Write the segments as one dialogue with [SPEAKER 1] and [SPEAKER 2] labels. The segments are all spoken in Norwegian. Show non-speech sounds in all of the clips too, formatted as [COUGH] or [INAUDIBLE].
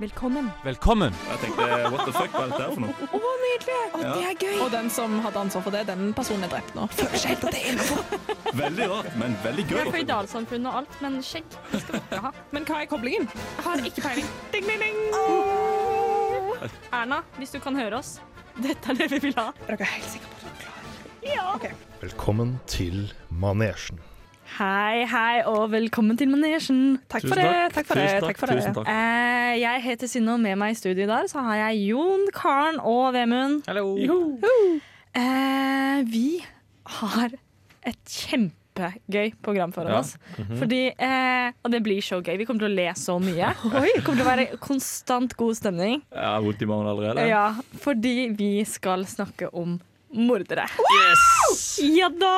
[SPEAKER 1] Velkommen.
[SPEAKER 2] Velkommen!
[SPEAKER 3] Og jeg tenkte what the fuck, hva er dette her for noe?
[SPEAKER 4] Å, nydelig! Å,
[SPEAKER 3] Ja.
[SPEAKER 4] Det er gøy. Og den som hadde ansvar for det, den personen er drept nå. Føler seg helt at det er innenfor.
[SPEAKER 3] Veldig rart, men veldig gøy.
[SPEAKER 1] Vi er føydalsamfunn og alt, men skjegg det skal vi ikke ha.
[SPEAKER 4] Men hva er koblingen?
[SPEAKER 1] Jeg har ikke peiling. Ding, ding, ding. Erna, hvis du kan høre oss, dette er det vi vil ha.
[SPEAKER 4] Er dere helt sikre på at dere er klare?
[SPEAKER 5] Velkommen til Manesjen.
[SPEAKER 6] Hei, hei, og velkommen til Manesjen.
[SPEAKER 4] Takk for det. Takk for det. Takk for det.
[SPEAKER 3] Tusen takk.
[SPEAKER 6] Eh, jeg heter Synne, og med meg i studio i dag så har jeg Jon, Karen og Vemund. Eh, vi har et kjempegøy program foran
[SPEAKER 2] Ja.
[SPEAKER 6] oss. Fordi, eh, og det blir så gøy. Vi kommer til å le så mye. Det kommer til å være konstant god stemning.
[SPEAKER 3] Jeg har vondt i magen allerede.
[SPEAKER 6] Ja, fordi vi skal snakke om mordere. Ja da!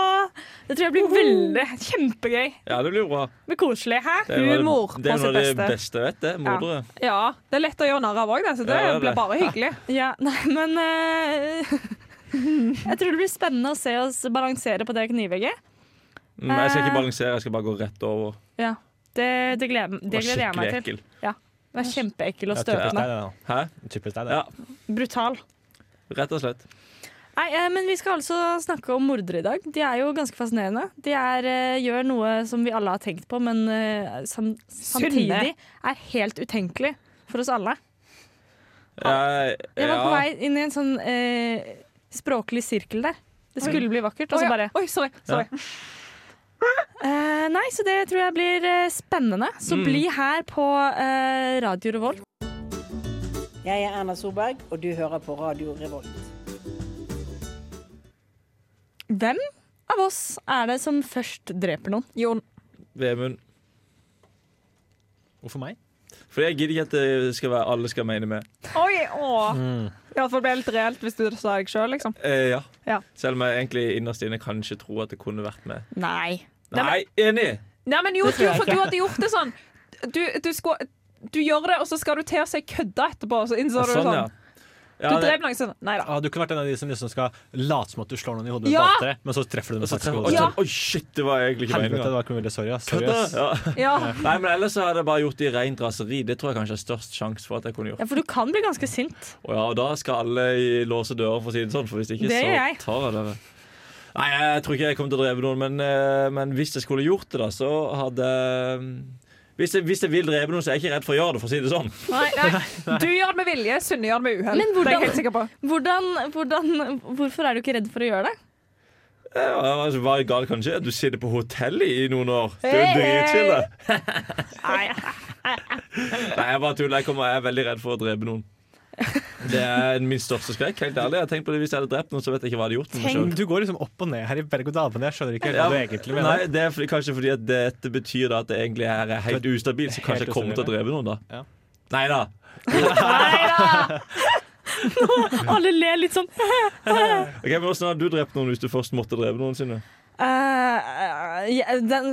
[SPEAKER 6] Det tror jeg
[SPEAKER 2] Uhuh.
[SPEAKER 6] blir veldig kjempegøy.
[SPEAKER 2] Ja, det blir bra.
[SPEAKER 6] Men koselig. Hæ?
[SPEAKER 2] Det er noe av det-
[SPEAKER 4] Humor på
[SPEAKER 2] Det er noe av
[SPEAKER 4] sitt
[SPEAKER 2] det
[SPEAKER 4] beste.
[SPEAKER 2] beste jeg vet, det. Mordere.
[SPEAKER 4] Ja, det er lett å gjøre narr av òg, så det
[SPEAKER 2] Ja, det er
[SPEAKER 4] blir
[SPEAKER 2] det.
[SPEAKER 4] bare hyggelig.
[SPEAKER 6] Ja, nei, men eh, [LAUGHS] Jeg tror det blir spennende å se oss balansere på det knivegget.
[SPEAKER 2] Mm, jeg
[SPEAKER 4] Eh,
[SPEAKER 2] skal ikke balansere, jeg skal bare gå rett over.
[SPEAKER 6] Ja, Det, det, gleder,
[SPEAKER 2] Det
[SPEAKER 6] det
[SPEAKER 2] var
[SPEAKER 6] gleder jeg meg
[SPEAKER 2] skikkelig
[SPEAKER 6] til.
[SPEAKER 2] ekkel.
[SPEAKER 6] Det er kjempeekkel og
[SPEAKER 7] Ja, typisk
[SPEAKER 6] støtende.
[SPEAKER 7] deg, det, da.
[SPEAKER 2] Hæ?
[SPEAKER 7] Typisk deg, det.
[SPEAKER 2] Ja.
[SPEAKER 6] Brutal.
[SPEAKER 2] Rett og slett.
[SPEAKER 6] Nei, eh, men vi skal altså snakke om mordere i dag. De er jo ganske fascinerende. De er, eh, gjør noe som vi alle har tenkt på, men eh, sam, samtidig er helt utenkelig for oss alle.
[SPEAKER 2] Jeg,
[SPEAKER 6] Jeg var på
[SPEAKER 2] ja.
[SPEAKER 6] vei inn i en sånn eh, språklig sirkel der. Det skulle bli vakkert, og
[SPEAKER 4] Å,
[SPEAKER 6] så
[SPEAKER 4] ja.
[SPEAKER 6] bare
[SPEAKER 4] Oi, sorry. sorry.
[SPEAKER 6] Eh, nei, så det tror jeg blir eh, spennende. Så
[SPEAKER 2] Mm.
[SPEAKER 6] bli her på eh, Radio Revolt.
[SPEAKER 8] Jeg er Erna Solberg, og du hører på Radio Revolt.
[SPEAKER 6] Hvem av oss er det som først dreper noen?
[SPEAKER 4] Jon.
[SPEAKER 2] Vemund.
[SPEAKER 7] Hvorfor meg?
[SPEAKER 2] Fordi jeg gidder ikke at det skal være alle skal mene med.
[SPEAKER 4] Oi, åh. I hvert fall ble det helt reelt hvis du sa deg sjøl, liksom.
[SPEAKER 2] Eh, ja.
[SPEAKER 4] Ja.
[SPEAKER 2] Selv om jeg egentlig innerst inne kanskje tror at det kunne vært med.
[SPEAKER 6] Nei.
[SPEAKER 2] Nei, enig!
[SPEAKER 4] Nei, men jo, du, for du hadde gjort det sånn. Du, du, skulle, du gjør det, og så skal du til å si kødda etterpå, og så innså du sånn.
[SPEAKER 2] ja. Ja,
[SPEAKER 4] Du
[SPEAKER 2] det-
[SPEAKER 4] drev noe sånn. Nei da.
[SPEAKER 7] Ah, du kunne vært en av de som liksom skal late som at du slår noen i hodet med
[SPEAKER 4] Ja!
[SPEAKER 7] batere, men så treffer du
[SPEAKER 2] og
[SPEAKER 7] den
[SPEAKER 2] så
[SPEAKER 7] faktisk i
[SPEAKER 2] treffer
[SPEAKER 7] hodet.
[SPEAKER 2] jeg
[SPEAKER 4] Ja.
[SPEAKER 2] sånn Oi, shit, det var egentlig ikke
[SPEAKER 7] Helvete, det
[SPEAKER 2] meninga.
[SPEAKER 7] var ikke mulig. Sorry, ass. Sorry, ass.
[SPEAKER 2] Ja.
[SPEAKER 4] Ja.
[SPEAKER 2] Nei, men ellers så hadde jeg bare gjort det i rent raseri. Det tror jeg kanskje er størst sjanse for at jeg kunne gjort.
[SPEAKER 6] Ja, for du kan bli ganske sint.
[SPEAKER 2] Og, ja, og da skal alle i- låse dører, for å si det sånn, for hvis ikke,
[SPEAKER 6] Det gjør
[SPEAKER 2] så
[SPEAKER 6] jeg.
[SPEAKER 2] tar jeg dere. Nei, jeg tror ikke jeg kommer til å drepe noen, men, eh, men hvis jeg skulle gjort det, da, så hadde eh, hvis jeg, hvis jeg vil drepe noen, så er jeg ikke redd for å gjøre det, for å si det sånn.
[SPEAKER 4] Nei, nei. Du gjør det med vilje, Synne gjør det med uhell.
[SPEAKER 6] Men
[SPEAKER 4] Det er
[SPEAKER 6] hvordan-
[SPEAKER 4] jeg helt sikker på.
[SPEAKER 6] Hvordan, hvordan, hvorfor er du ikke redd for å gjøre det?
[SPEAKER 2] Ja, altså, Hva er galt kan skje? Du sitter på hotell i noen år. Det er jo dritchill, det. Nei, jeg bare tuller. Jeg, kommer, jeg er veldig redd for å drepe noen. Det er min største skrekk. Helt ærlig. Jeg har tenkt på det Hvis jeg hadde drept noen, så vet jeg ikke hva jeg hadde gjort med meg
[SPEAKER 7] Men
[SPEAKER 2] sjøl.
[SPEAKER 7] Du går liksom opp og ned her i berg-og-dal-bane. Jeg skjønner ikke helt
[SPEAKER 2] Ja,
[SPEAKER 7] hva du egentlig
[SPEAKER 2] nei,
[SPEAKER 7] mener.
[SPEAKER 2] det er fordi- kanskje fordi at dette betyr da at det egentlig her er helt ustabilt, så kanskje jeg kommer til å drepe noen da.
[SPEAKER 7] Ja.
[SPEAKER 2] Nei da.
[SPEAKER 6] Alle ler litt sånn.
[SPEAKER 2] Ok, men Hvordan hadde du drept noen hvis du først måtte drepe noen? Synne?
[SPEAKER 6] Eh, ja, den,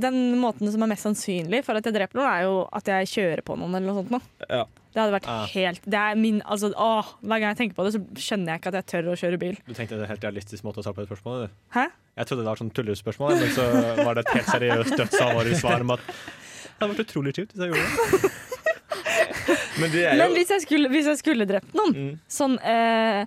[SPEAKER 6] den måten som er mest sannsynlig for at jeg dreper noen, er jo at jeg kjører på noen eller noe sånt. Nå.
[SPEAKER 2] Ja.
[SPEAKER 6] Det hadde vært
[SPEAKER 7] Ah.
[SPEAKER 6] helt det er min, altså, åh, Hver gang jeg tenker på det, så skjønner jeg ikke at jeg tør å kjøre bil.
[SPEAKER 7] Du tenkte det er en helt realistisk måte å svare på det spørsmålet? Du.
[SPEAKER 6] Hæ?
[SPEAKER 7] Jeg trodde det var et sånn tullespørsmål, men så var det et helt seriøst dødsalvorlig svar om at det hadde vært utrolig kjipt hvis jeg gjorde det.
[SPEAKER 2] Men det er jo
[SPEAKER 6] Men hvis jeg skulle, hvis jeg skulle drept noen,
[SPEAKER 2] Mm.
[SPEAKER 6] sånn eh,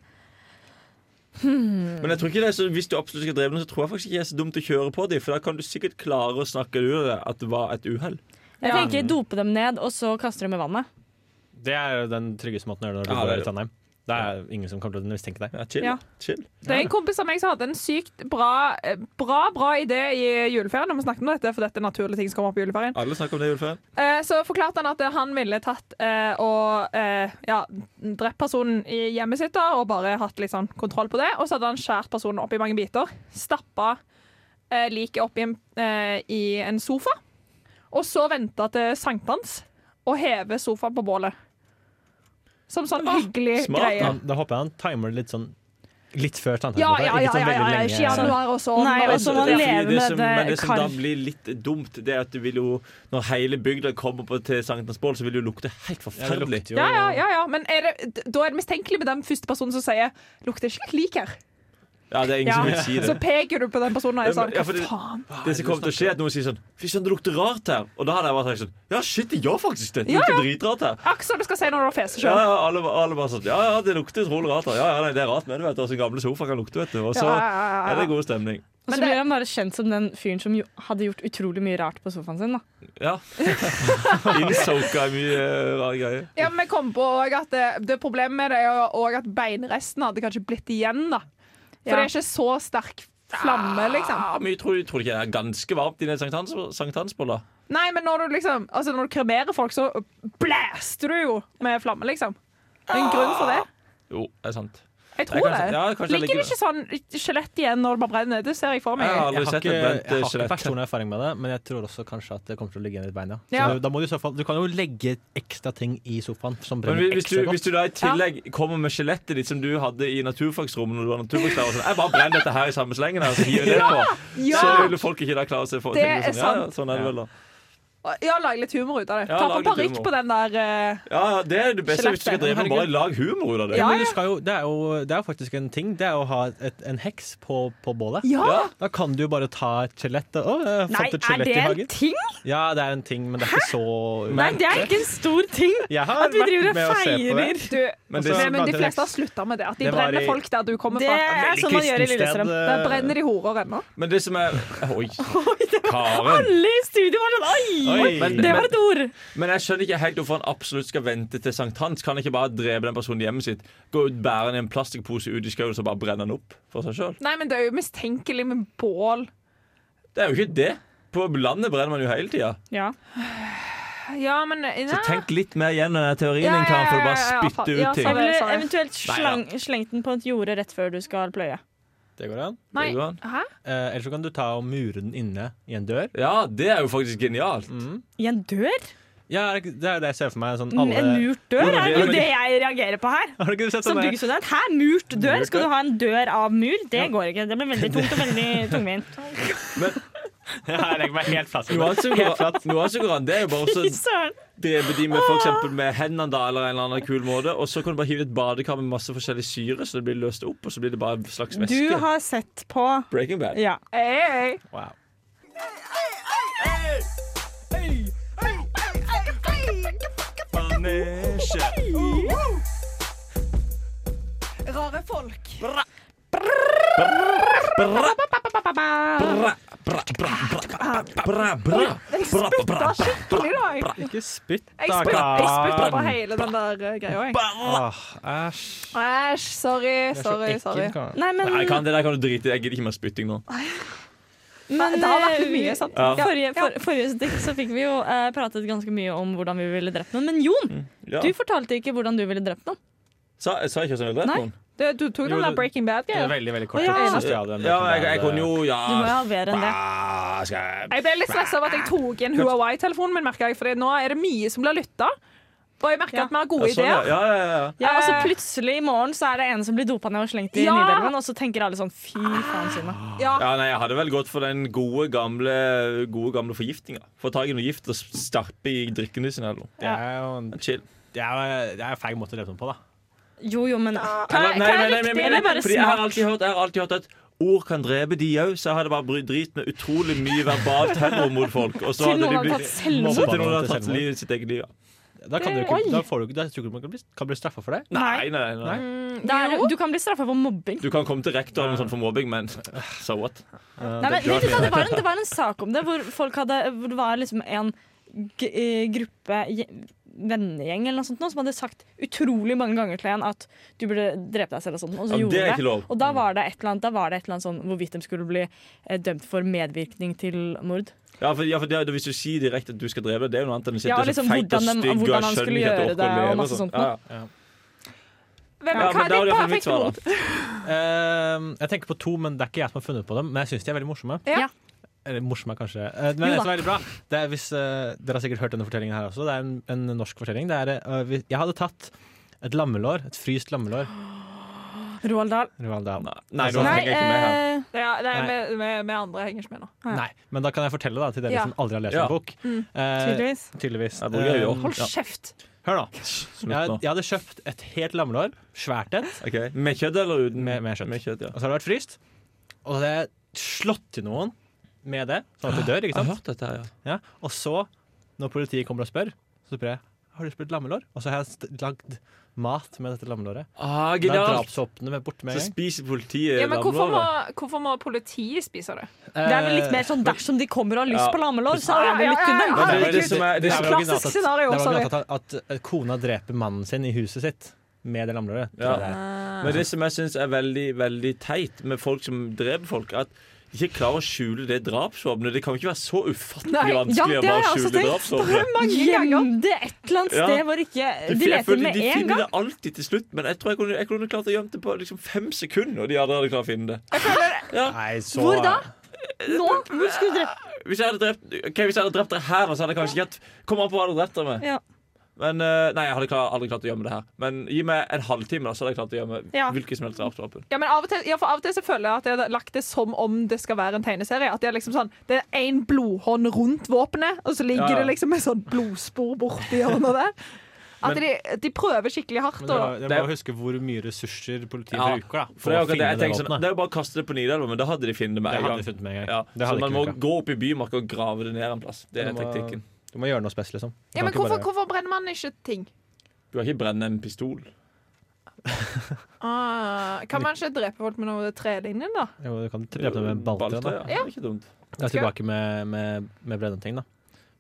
[SPEAKER 2] Men jeg tror ikke det, er så hvis du absolutt skal drepe noen, så tror jeg faktisk ikke det er så dumt å kjøre på dem. For da kan du sikkert klare å snakke ut av det at det var et uhell.
[SPEAKER 6] Jeg
[SPEAKER 4] Ja.
[SPEAKER 6] tenker dope dem ned, og så kaster dem i vannet.
[SPEAKER 7] Det er jo den tryggeste måten å gjøre det når
[SPEAKER 2] Ja, det er
[SPEAKER 7] du bor
[SPEAKER 2] det.
[SPEAKER 7] i Trondheim. Det er ingen som kommer til å mistenke deg.
[SPEAKER 2] Ja, chill.
[SPEAKER 6] Ja.
[SPEAKER 2] chill.
[SPEAKER 4] Det er en kompis av meg som hadde en sykt bra, eh, bra, bra idé i juleferien. Når vi snakket om dette, for dette er naturlige ting som kommer opp i juleferien.
[SPEAKER 2] Alle snakker om det, Ulfen.
[SPEAKER 4] Eh, Så forklarte han at eh, han ville tatt eh, og eh, ja, drept personen i hjemmet sitt da, og bare hatt litt sånn kontroll på det. Og så hadde han skåret personen opp i mange biter. Stappa eh, liket opp i en, eh, i en sofa. Og så venta til sankthans og heve sofaen på bålet. Som sånn hyggelig
[SPEAKER 2] smart,
[SPEAKER 4] greie.
[SPEAKER 7] Han- Da håper jeg han timer det litt sånn litt før Trondheim.
[SPEAKER 4] Ja, ja, ja. ja, ja, ja.
[SPEAKER 7] Litt
[SPEAKER 4] Ikke
[SPEAKER 7] sånn veldig lenge.
[SPEAKER 4] januar og sånn.
[SPEAKER 6] Nei,
[SPEAKER 4] og
[SPEAKER 6] og så må man
[SPEAKER 4] ja.
[SPEAKER 6] leve
[SPEAKER 2] Altså, det
[SPEAKER 6] med
[SPEAKER 2] som,
[SPEAKER 6] det
[SPEAKER 2] men det som da
[SPEAKER 6] kald-
[SPEAKER 2] blir litt dumt, det er at du vil jo Når hele bygda kommer på til sankthansbål, så vil det jo lukte helt
[SPEAKER 7] Ja, det
[SPEAKER 2] forferdelig.
[SPEAKER 7] lukter jo-
[SPEAKER 4] Ja, ja, ja, ja. Men er det, d- da er det mistenkelig med den første personen som sier 'lukter ikke litt lik her'.
[SPEAKER 2] Ja, det er ingen
[SPEAKER 4] Ja.
[SPEAKER 2] som vil si
[SPEAKER 4] Så
[SPEAKER 2] det.
[SPEAKER 4] peker du på den personen og er sånn
[SPEAKER 2] Ja,
[SPEAKER 4] Hva
[SPEAKER 2] fordi-
[SPEAKER 4] faen?
[SPEAKER 2] Det som kommer til å skje, er at noen sier sånn Fy søren, det lukter rart her. Og da hadde jeg bare tenkt sånn Ja, shit, det gjør faktisk det. Det lukter dritrart her.
[SPEAKER 4] Aksel, du skal si når du har feset
[SPEAKER 2] Ja,
[SPEAKER 4] sjøl.
[SPEAKER 2] ja, alle, alle bare sånn Ja, ja, det lukter utrolig rart her. Ja, ja, nei, det er rart med det, vet du. Også gamle sofa kan lukte, vet du. Og så
[SPEAKER 4] Ja, ja, ja, ja.
[SPEAKER 2] er det god stemning.
[SPEAKER 6] Og så blir han bare kjent som den fyren som jo hadde gjort utrolig mye rart på sofaen sin. da.
[SPEAKER 2] [LAUGHS] Ja. Innsoka i mye eh, rare greier.
[SPEAKER 4] Ja, men jeg kom på også at det, det problemet med det er jo også at beinresten hadde kanskje blitt igjen, da. For
[SPEAKER 6] Ja.
[SPEAKER 4] det er ikke så sterk flamme, liksom.
[SPEAKER 2] Ja, mye tror, tror du ikke det er ganske varmt inne i Sankt Hans- Sankt Hansbolla?
[SPEAKER 4] Nei, men når du liksom Altså, når du kremerer folk, så blæster du jo med flamme, liksom. Det er en grunn for det.
[SPEAKER 2] Jo, det er sant.
[SPEAKER 4] Jeg
[SPEAKER 2] Jeg
[SPEAKER 4] tror
[SPEAKER 2] kan-
[SPEAKER 4] det.
[SPEAKER 2] ja, kanskje det
[SPEAKER 4] Ligger
[SPEAKER 2] ligger-
[SPEAKER 4] det ikke sånn skjelett igjen når det bare brenner? Det ser jeg for meg.
[SPEAKER 2] Jeg har aldri
[SPEAKER 7] Jeg har
[SPEAKER 2] sett
[SPEAKER 7] ikke,
[SPEAKER 2] et brent
[SPEAKER 7] jeg
[SPEAKER 2] eh,
[SPEAKER 7] har ikke sånn.
[SPEAKER 2] skjelett.
[SPEAKER 7] personlig erfaring med det, men jeg tror også kanskje at det kommer til å ligge igjen i et bein. Ja. Så
[SPEAKER 4] Ja.
[SPEAKER 7] Da må du, i så fall, du kan jo legge ekstra ting i sofaen som
[SPEAKER 2] Men
[SPEAKER 7] brenner
[SPEAKER 2] hvis du,
[SPEAKER 7] ekstra
[SPEAKER 2] hvis
[SPEAKER 7] godt.
[SPEAKER 2] du da i tillegg kommer med skjelettet ditt som du hadde i naturfagsrommet når du var naturfagslærer og sånn, jeg bare brenner dette her i samme slengen her, så hiver jeg det på,
[SPEAKER 4] Ja!
[SPEAKER 2] så vil folk ikke da klare seg for å
[SPEAKER 4] Det
[SPEAKER 2] tenke
[SPEAKER 4] er
[SPEAKER 2] sånn. Ja, ja,
[SPEAKER 4] sant.
[SPEAKER 2] sånn er det vel da.
[SPEAKER 4] ja, lag litt humor ut av det.
[SPEAKER 2] Ja,
[SPEAKER 4] Ta
[SPEAKER 2] lag
[SPEAKER 4] på
[SPEAKER 2] litt
[SPEAKER 4] parykk
[SPEAKER 2] humor.
[SPEAKER 4] på den der eh,
[SPEAKER 2] Ja, ja, det er det beste hvis du skal
[SPEAKER 4] Skjelettet,
[SPEAKER 2] drive med bare lag humor ut av det.
[SPEAKER 4] Ja,
[SPEAKER 7] Men
[SPEAKER 4] ja.
[SPEAKER 7] du skal jo, det, er jo, det er jo faktisk en ting. Det er å ha et, en heks på, på bålet.
[SPEAKER 4] Ja!
[SPEAKER 7] Da kan du jo bare ta et skjelett. og, Å, jeg
[SPEAKER 6] Nei,
[SPEAKER 7] fant et
[SPEAKER 6] er
[SPEAKER 7] skjelett
[SPEAKER 6] det
[SPEAKER 7] i
[SPEAKER 6] en
[SPEAKER 7] hagen.
[SPEAKER 6] ting?
[SPEAKER 7] Ja, det er en ting, men det er ikke så
[SPEAKER 6] Nei, det er ikke en stor ting
[SPEAKER 7] Jeg har
[SPEAKER 6] at vi
[SPEAKER 7] vært
[SPEAKER 6] driver
[SPEAKER 7] med å
[SPEAKER 6] og
[SPEAKER 7] se på det.
[SPEAKER 6] feirer.
[SPEAKER 4] Du,
[SPEAKER 7] Men
[SPEAKER 4] men,
[SPEAKER 7] det-
[SPEAKER 4] men de fleste har slutta med det. At de
[SPEAKER 7] Det var
[SPEAKER 4] brenner
[SPEAKER 7] i-
[SPEAKER 4] folk der du kommer
[SPEAKER 6] Det
[SPEAKER 4] fra.
[SPEAKER 6] er
[SPEAKER 7] Veldig
[SPEAKER 6] sånn man gjør i
[SPEAKER 7] kristent sted,
[SPEAKER 6] Lillestrøm.
[SPEAKER 7] eh,
[SPEAKER 4] Der brenner de horer ennå.
[SPEAKER 2] Men det som er Oi, Karen.
[SPEAKER 6] Alle i studio var sånn Oi!
[SPEAKER 2] Oi, men,
[SPEAKER 6] Det
[SPEAKER 2] men,
[SPEAKER 6] var et ord.
[SPEAKER 2] men jeg skjønner ikke helt hvorfor han absolutt skal vente til sankthans. Kan han ikke bare drepe den personen i hjemmet sitt, gå ut, bære den i en plastikkpose ut i skauen og så bare brenne den opp for seg sjøl?
[SPEAKER 4] Nei, men det er jo mistenkelig med bål.
[SPEAKER 2] Det er jo ikke det. På landet brenner man jo hele tida.
[SPEAKER 6] Ja.
[SPEAKER 4] Ja, men eh, nei.
[SPEAKER 2] Så tenk litt mer igjen den teorien
[SPEAKER 4] Ja,
[SPEAKER 2] din, Karen, for du
[SPEAKER 4] ja, ja,
[SPEAKER 2] bare
[SPEAKER 4] ja, fa-
[SPEAKER 2] spytter
[SPEAKER 4] ja,
[SPEAKER 2] ut ting.
[SPEAKER 4] sa
[SPEAKER 6] Jeg
[SPEAKER 4] vi.
[SPEAKER 6] ville
[SPEAKER 4] Sorry.
[SPEAKER 6] eventuelt slang, slengt den på et jorde rett før du skal pløye.
[SPEAKER 7] eh, Det går an.
[SPEAKER 4] nei.
[SPEAKER 2] Det går an.
[SPEAKER 4] Hæ?
[SPEAKER 7] Eh, Eller så kan du ta og mure den inne i en dør.
[SPEAKER 2] Ja, det er jo faktisk genialt.
[SPEAKER 6] I en dør?
[SPEAKER 7] Ja, er det ikke- det er det jeg ser for meg. Sånn,
[SPEAKER 6] En
[SPEAKER 7] alle,
[SPEAKER 6] murt dør
[SPEAKER 2] Jo, men
[SPEAKER 6] er
[SPEAKER 2] det-
[SPEAKER 6] jo det jeg reagerer på her.
[SPEAKER 7] [LAUGHS] har du ikke sett
[SPEAKER 6] Som
[SPEAKER 7] sånn der?
[SPEAKER 6] byggstudent. Hæ, murt dør?
[SPEAKER 7] Murt
[SPEAKER 6] Skal
[SPEAKER 7] dør.
[SPEAKER 6] du ha en dør av mur? Det går ikke. Det blir veldig tungt og veldig
[SPEAKER 2] [LAUGHS]
[SPEAKER 6] tungvint.
[SPEAKER 7] Ja, jeg legger meg helt flat.
[SPEAKER 2] Noe annet [LAUGHS] som går an- noe annet som går an, det er jo bare [LAUGHS]
[SPEAKER 6] Fy
[SPEAKER 2] å
[SPEAKER 6] søren.
[SPEAKER 2] drepe de med,
[SPEAKER 4] Ah.
[SPEAKER 2] for eksempel med hendene da, eller en eller annen kul måte, og så kan du bare hive i et badekar med masse forskjellig syre, så det blir løst opp, og så blir det bare en slags væske.
[SPEAKER 6] Du har sett på
[SPEAKER 2] Breaking Bad.
[SPEAKER 6] Ja.
[SPEAKER 4] Ei, ei.
[SPEAKER 7] Wow.
[SPEAKER 4] Rare folk.
[SPEAKER 6] Ah,
[SPEAKER 2] Jeg spytta
[SPEAKER 4] Skikkelig dag.
[SPEAKER 7] Ikke spytt,
[SPEAKER 4] Jeg
[SPEAKER 7] da,
[SPEAKER 4] spytta jeg spytta på
[SPEAKER 7] Karen.
[SPEAKER 4] hele den der eh, greia. jeg.
[SPEAKER 7] Åh, Æsj.
[SPEAKER 4] Æsj. Sorry,
[SPEAKER 7] Det er så
[SPEAKER 4] sorry. sorry.
[SPEAKER 7] ekkelt, Karen.
[SPEAKER 6] Nei, men,
[SPEAKER 2] Nei, kan, det der kan du drite i. Jeg gidder ikke mer spytting nå.
[SPEAKER 6] Ah, men
[SPEAKER 4] Det har vært
[SPEAKER 6] eh,
[SPEAKER 4] mye, sant?
[SPEAKER 2] Ja.
[SPEAKER 6] Forrige, for, forrige stikk så fikk vi jo eh, pratet ganske mye om hvordan vi ville drept noen. Men Jon,
[SPEAKER 2] Ja.
[SPEAKER 6] du fortalte ikke hvordan du ville drept noen.
[SPEAKER 2] Sa, sa jeg ikke at jeg hadde drept
[SPEAKER 6] Nei.
[SPEAKER 2] noen?
[SPEAKER 4] Du, du tok
[SPEAKER 7] Jo,
[SPEAKER 4] den der
[SPEAKER 7] det-
[SPEAKER 4] Breaking
[SPEAKER 7] Det er
[SPEAKER 4] Bad-greia.
[SPEAKER 7] veldig, veldig kort.
[SPEAKER 6] Å, ja.
[SPEAKER 7] Jeg synes jeg hadde en
[SPEAKER 2] Ja,
[SPEAKER 7] Breaking
[SPEAKER 2] jeg, jeg
[SPEAKER 7] Bad,
[SPEAKER 2] kunne jo ja.
[SPEAKER 6] Du må jo halvere enn det.
[SPEAKER 2] Ah, skal jeg-
[SPEAKER 4] Jeg ble litt stressa av at jeg tok inn Huawei-telefonen min, merker jeg, for nå er det mye som blir lytta. Og jeg merker
[SPEAKER 6] Ja.
[SPEAKER 4] at vi har gode
[SPEAKER 2] Ja, sånn, ja.
[SPEAKER 4] ideer.
[SPEAKER 2] Ja, ja, ja.
[SPEAKER 6] Ja, og så
[SPEAKER 4] Eh.
[SPEAKER 6] plutselig i morgen så er det en som blir dopa ned og slengt i
[SPEAKER 4] Ja.
[SPEAKER 6] Nidelven, og så tenker alle sånn fy faen, Sunna.
[SPEAKER 4] Ja.
[SPEAKER 2] Ja, nei, Jeg hadde vel gått for den gode, gamle Gode gamle forgiftninga. Få tak i noe gift og starpe i drikken din. Eller noe.
[SPEAKER 7] Det er jo en,
[SPEAKER 2] Chill.
[SPEAKER 7] det er, det er en feil måte å drepe noen på, da.
[SPEAKER 6] Jo, jo, men
[SPEAKER 2] Eller, nei, nei, nei, nei,
[SPEAKER 6] Eller bare
[SPEAKER 2] fordi jeg har
[SPEAKER 6] smart.
[SPEAKER 2] alltid hørt, jeg har alltid hørt at ord kan drepe de òg, så jeg hadde bare brydd drit med utrolig mye verbal terror mot folk. Og
[SPEAKER 6] Til
[SPEAKER 2] så hadde
[SPEAKER 6] noen
[SPEAKER 2] de
[SPEAKER 6] hadde tatt
[SPEAKER 2] blitt
[SPEAKER 6] selvmord.
[SPEAKER 2] Til noen hadde tatt livet sitt eget liv. Ja.
[SPEAKER 7] Da kan du
[SPEAKER 6] Eh,
[SPEAKER 7] ikke, da får du ikke, da tror jeg ikke man kan bli, kan bli straffa for det.
[SPEAKER 2] Nei, nei, nei.
[SPEAKER 6] Det er, du kan bli straffa for mobbing.
[SPEAKER 2] Du kan komme til rektor eller noe sånt for mobbing, men [LAUGHS] so what?
[SPEAKER 6] Nei, men, vet du hva, det, var en, det var en sak om det, hvor, folk hadde, hvor det var liksom en g eh, gruppe je- vennegjeng eller noe sånt, nå, som hadde sagt utrolig mange ganger til en at du burde drepe deg selv. Og sånt, og så
[SPEAKER 2] Ja,
[SPEAKER 6] gjorde
[SPEAKER 2] det er
[SPEAKER 6] de
[SPEAKER 2] ikke lov.
[SPEAKER 6] Og da var det et eller annet, da var det et eller annet sånn hvorvidt de skulle bli eh, dømt for medvirkning til mord.
[SPEAKER 2] Ja, for, ja, for det, hvis du sier direkte at du skal drepe deg, det er jo noe annet enn å sitte
[SPEAKER 6] Ja,
[SPEAKER 2] og
[SPEAKER 6] liksom
[SPEAKER 2] så feit
[SPEAKER 6] hvordan
[SPEAKER 2] og
[SPEAKER 6] de-
[SPEAKER 2] stygg og
[SPEAKER 6] hvordan
[SPEAKER 2] jeg
[SPEAKER 6] han
[SPEAKER 2] skjønner
[SPEAKER 6] skulle
[SPEAKER 2] ikke at
[SPEAKER 6] gjøre
[SPEAKER 2] du orker å
[SPEAKER 6] det, og
[SPEAKER 2] leve.
[SPEAKER 6] masse
[SPEAKER 2] og sånn.
[SPEAKER 6] sånt noe.
[SPEAKER 2] Ja, ja.
[SPEAKER 4] Hvem,
[SPEAKER 2] Ja,
[SPEAKER 4] hva
[SPEAKER 2] men da er
[SPEAKER 4] er ditt
[SPEAKER 2] det iallfall mitt
[SPEAKER 4] perfekte
[SPEAKER 2] svar,
[SPEAKER 4] mord?
[SPEAKER 2] da.
[SPEAKER 7] Eh, jeg tenker på to, men det er ikke jeg som har funnet på dem. Men jeg syns de er veldig morsomme.
[SPEAKER 6] Ja.
[SPEAKER 7] Eller morsomme, er kanskje. Eh, men
[SPEAKER 6] Jo
[SPEAKER 7] det
[SPEAKER 6] da.
[SPEAKER 7] som er veldig bra, det er hvis eh, Dere har sikkert hørt denne fortellingen her også. Det er en, en norsk fortelling. Det er, eh, hvis- jeg hadde tatt et lammelår, et fryst lammelår.
[SPEAKER 6] Roald Dahl.
[SPEAKER 7] Roald Dahl.
[SPEAKER 2] Nei, nei, nå
[SPEAKER 7] Altså,
[SPEAKER 2] henger jeg ikke med her.
[SPEAKER 6] eh,
[SPEAKER 4] Ja, nei, vi,
[SPEAKER 7] Nei.
[SPEAKER 4] vi, vi andre henger ikke med nå.
[SPEAKER 7] Nei, men da kan jeg fortelle da, til dere
[SPEAKER 4] Ja.
[SPEAKER 7] som aldri har lest
[SPEAKER 2] Ja.
[SPEAKER 7] en bok. Eh,
[SPEAKER 6] Mm. tydeligvis.
[SPEAKER 7] tydeligvis.
[SPEAKER 2] Ja, det er gøy, jo.
[SPEAKER 7] Eh,
[SPEAKER 4] Hold
[SPEAKER 7] ja.
[SPEAKER 4] kjeft!
[SPEAKER 7] Hør, da.
[SPEAKER 3] Slutt
[SPEAKER 7] Jeg,
[SPEAKER 3] nå.
[SPEAKER 7] jeg hadde kjøpt et helt lammelår, svært et,
[SPEAKER 2] Ok. Med kjøtt eller uten?
[SPEAKER 7] med, med kjøtt.
[SPEAKER 2] Med kjøtt, ja.
[SPEAKER 7] Og så har det vært fryst. Og så hadde jeg slått til noen med det, sånn at det dør.
[SPEAKER 2] Jeg
[SPEAKER 7] ikke
[SPEAKER 2] har
[SPEAKER 7] sant?
[SPEAKER 2] hørt dette her, ja.
[SPEAKER 7] Ja. Og så, når politiet kommer og spør, så spør jeg har du spist lammelår. Og så har jeg st- lagd mat med dette lammelåret.
[SPEAKER 2] Ah,
[SPEAKER 7] Da er
[SPEAKER 2] genialt!
[SPEAKER 7] drapshoppene med bort med
[SPEAKER 2] Så
[SPEAKER 7] en gang.
[SPEAKER 2] spiser politiet
[SPEAKER 4] Ja, men hvorfor må,
[SPEAKER 2] lammelåret.
[SPEAKER 4] hvorfor må politiet spise det?
[SPEAKER 2] eh,
[SPEAKER 6] Det er vel litt mer sånn dersom de kommer og har lyst
[SPEAKER 2] Ja.
[SPEAKER 6] på lammelår, så er det litt
[SPEAKER 4] Ja, ja, ja,
[SPEAKER 6] under.
[SPEAKER 4] ja.
[SPEAKER 2] Men det er det som er- det
[SPEAKER 7] Det
[SPEAKER 2] som
[SPEAKER 7] er
[SPEAKER 2] er
[SPEAKER 7] vel originalt
[SPEAKER 4] Klassisk
[SPEAKER 7] at-
[SPEAKER 4] scenario,
[SPEAKER 7] det er vel
[SPEAKER 4] sorry.
[SPEAKER 7] originalt at, at kona dreper mannen sin i huset sitt med det lammelåret.
[SPEAKER 2] Ja.
[SPEAKER 7] Det er-
[SPEAKER 2] Men det som jeg syns er veldig veldig teit med folk som dreper folk, at de ikke klarer å skjule det drapsvåpenet. Det kan jo ikke være så ufattelig
[SPEAKER 4] Nei, ja,
[SPEAKER 2] vanskelig å
[SPEAKER 4] det har
[SPEAKER 2] bare
[SPEAKER 4] jeg også
[SPEAKER 2] skjule
[SPEAKER 4] tenkt.
[SPEAKER 2] drapsvåpenet.
[SPEAKER 4] Mange ganger.
[SPEAKER 6] Gjem det et eller annet
[SPEAKER 2] Ja.
[SPEAKER 6] sted hvor ikke De
[SPEAKER 2] De, jeg
[SPEAKER 6] leter
[SPEAKER 2] føler
[SPEAKER 6] med
[SPEAKER 2] de
[SPEAKER 6] en gang.
[SPEAKER 2] finner det alltid til slutt, men jeg tror jeg kunne, jeg kunne klart å gjemme det på liksom fem sekunder. Og de andre hadde klart å finne det
[SPEAKER 7] Nei, så
[SPEAKER 6] Hvor da? Nå? Hvor skulle du drept
[SPEAKER 2] Hvis jeg hadde drept, ok, hvis jeg hadde drept dere her, nå, så hadde jeg kanskje ikke hatt Kom an på hva du hadde drept dere med.
[SPEAKER 6] Ja.
[SPEAKER 2] Men, eh, nei, jeg hadde klar, aldri klart å gjemme det her. Men gi meg en halvtime, da, så hadde jeg klart å gjemme
[SPEAKER 4] Ja.
[SPEAKER 2] hvilket som helst drapsvåpen.
[SPEAKER 4] Ja, men av og, til, ja, for av og til så føler jeg at jeg har lagt det som om det skal være en tegneserie. At Det er liksom sånn, det er én blodhånd rundt våpenet, og så ligger
[SPEAKER 2] Ja, ja.
[SPEAKER 4] det liksom et sånn blodspor
[SPEAKER 2] [LAUGHS]
[SPEAKER 4] borti hjørnet der. At de, de prøver skikkelig hardt.
[SPEAKER 7] Men det,
[SPEAKER 4] Og,
[SPEAKER 7] er bare å huske hvor mye ressurser politiet
[SPEAKER 2] Ja,
[SPEAKER 7] bruker da,
[SPEAKER 2] For det er, akkurat
[SPEAKER 7] å
[SPEAKER 2] det,
[SPEAKER 7] finne
[SPEAKER 2] jeg
[SPEAKER 7] det
[SPEAKER 2] tenker sånn,
[SPEAKER 7] våpenet.
[SPEAKER 2] det er jo bare å kaste det på Nidelva, men da hadde de funnet det
[SPEAKER 7] Det
[SPEAKER 2] med en
[SPEAKER 7] hadde de
[SPEAKER 2] gang.
[SPEAKER 7] funnet med en gang.
[SPEAKER 2] Ja,
[SPEAKER 7] Det
[SPEAKER 2] så
[SPEAKER 7] hadde
[SPEAKER 2] man
[SPEAKER 7] ikke
[SPEAKER 2] må
[SPEAKER 7] funket.
[SPEAKER 2] gå opp i bymarka og grave det ned en plass. Det er
[SPEAKER 7] Du må-
[SPEAKER 2] teknikken.
[SPEAKER 7] Du må gjøre noe spes, liksom. Du
[SPEAKER 4] ja,
[SPEAKER 7] kan
[SPEAKER 4] men
[SPEAKER 7] ikke
[SPEAKER 4] hvorfor,
[SPEAKER 7] bare-
[SPEAKER 4] hvorfor brenner man ikke ting?
[SPEAKER 2] Du kan ikke brenne en pistol.
[SPEAKER 4] Ah, kan man ikke drepe folk med noe trelinjen, da?
[SPEAKER 7] Jo, du kan drepe dem med en balltre. da.
[SPEAKER 2] ja. Det er ikke dumt.
[SPEAKER 7] Jeg er tilbake med, med, med brenneting, da.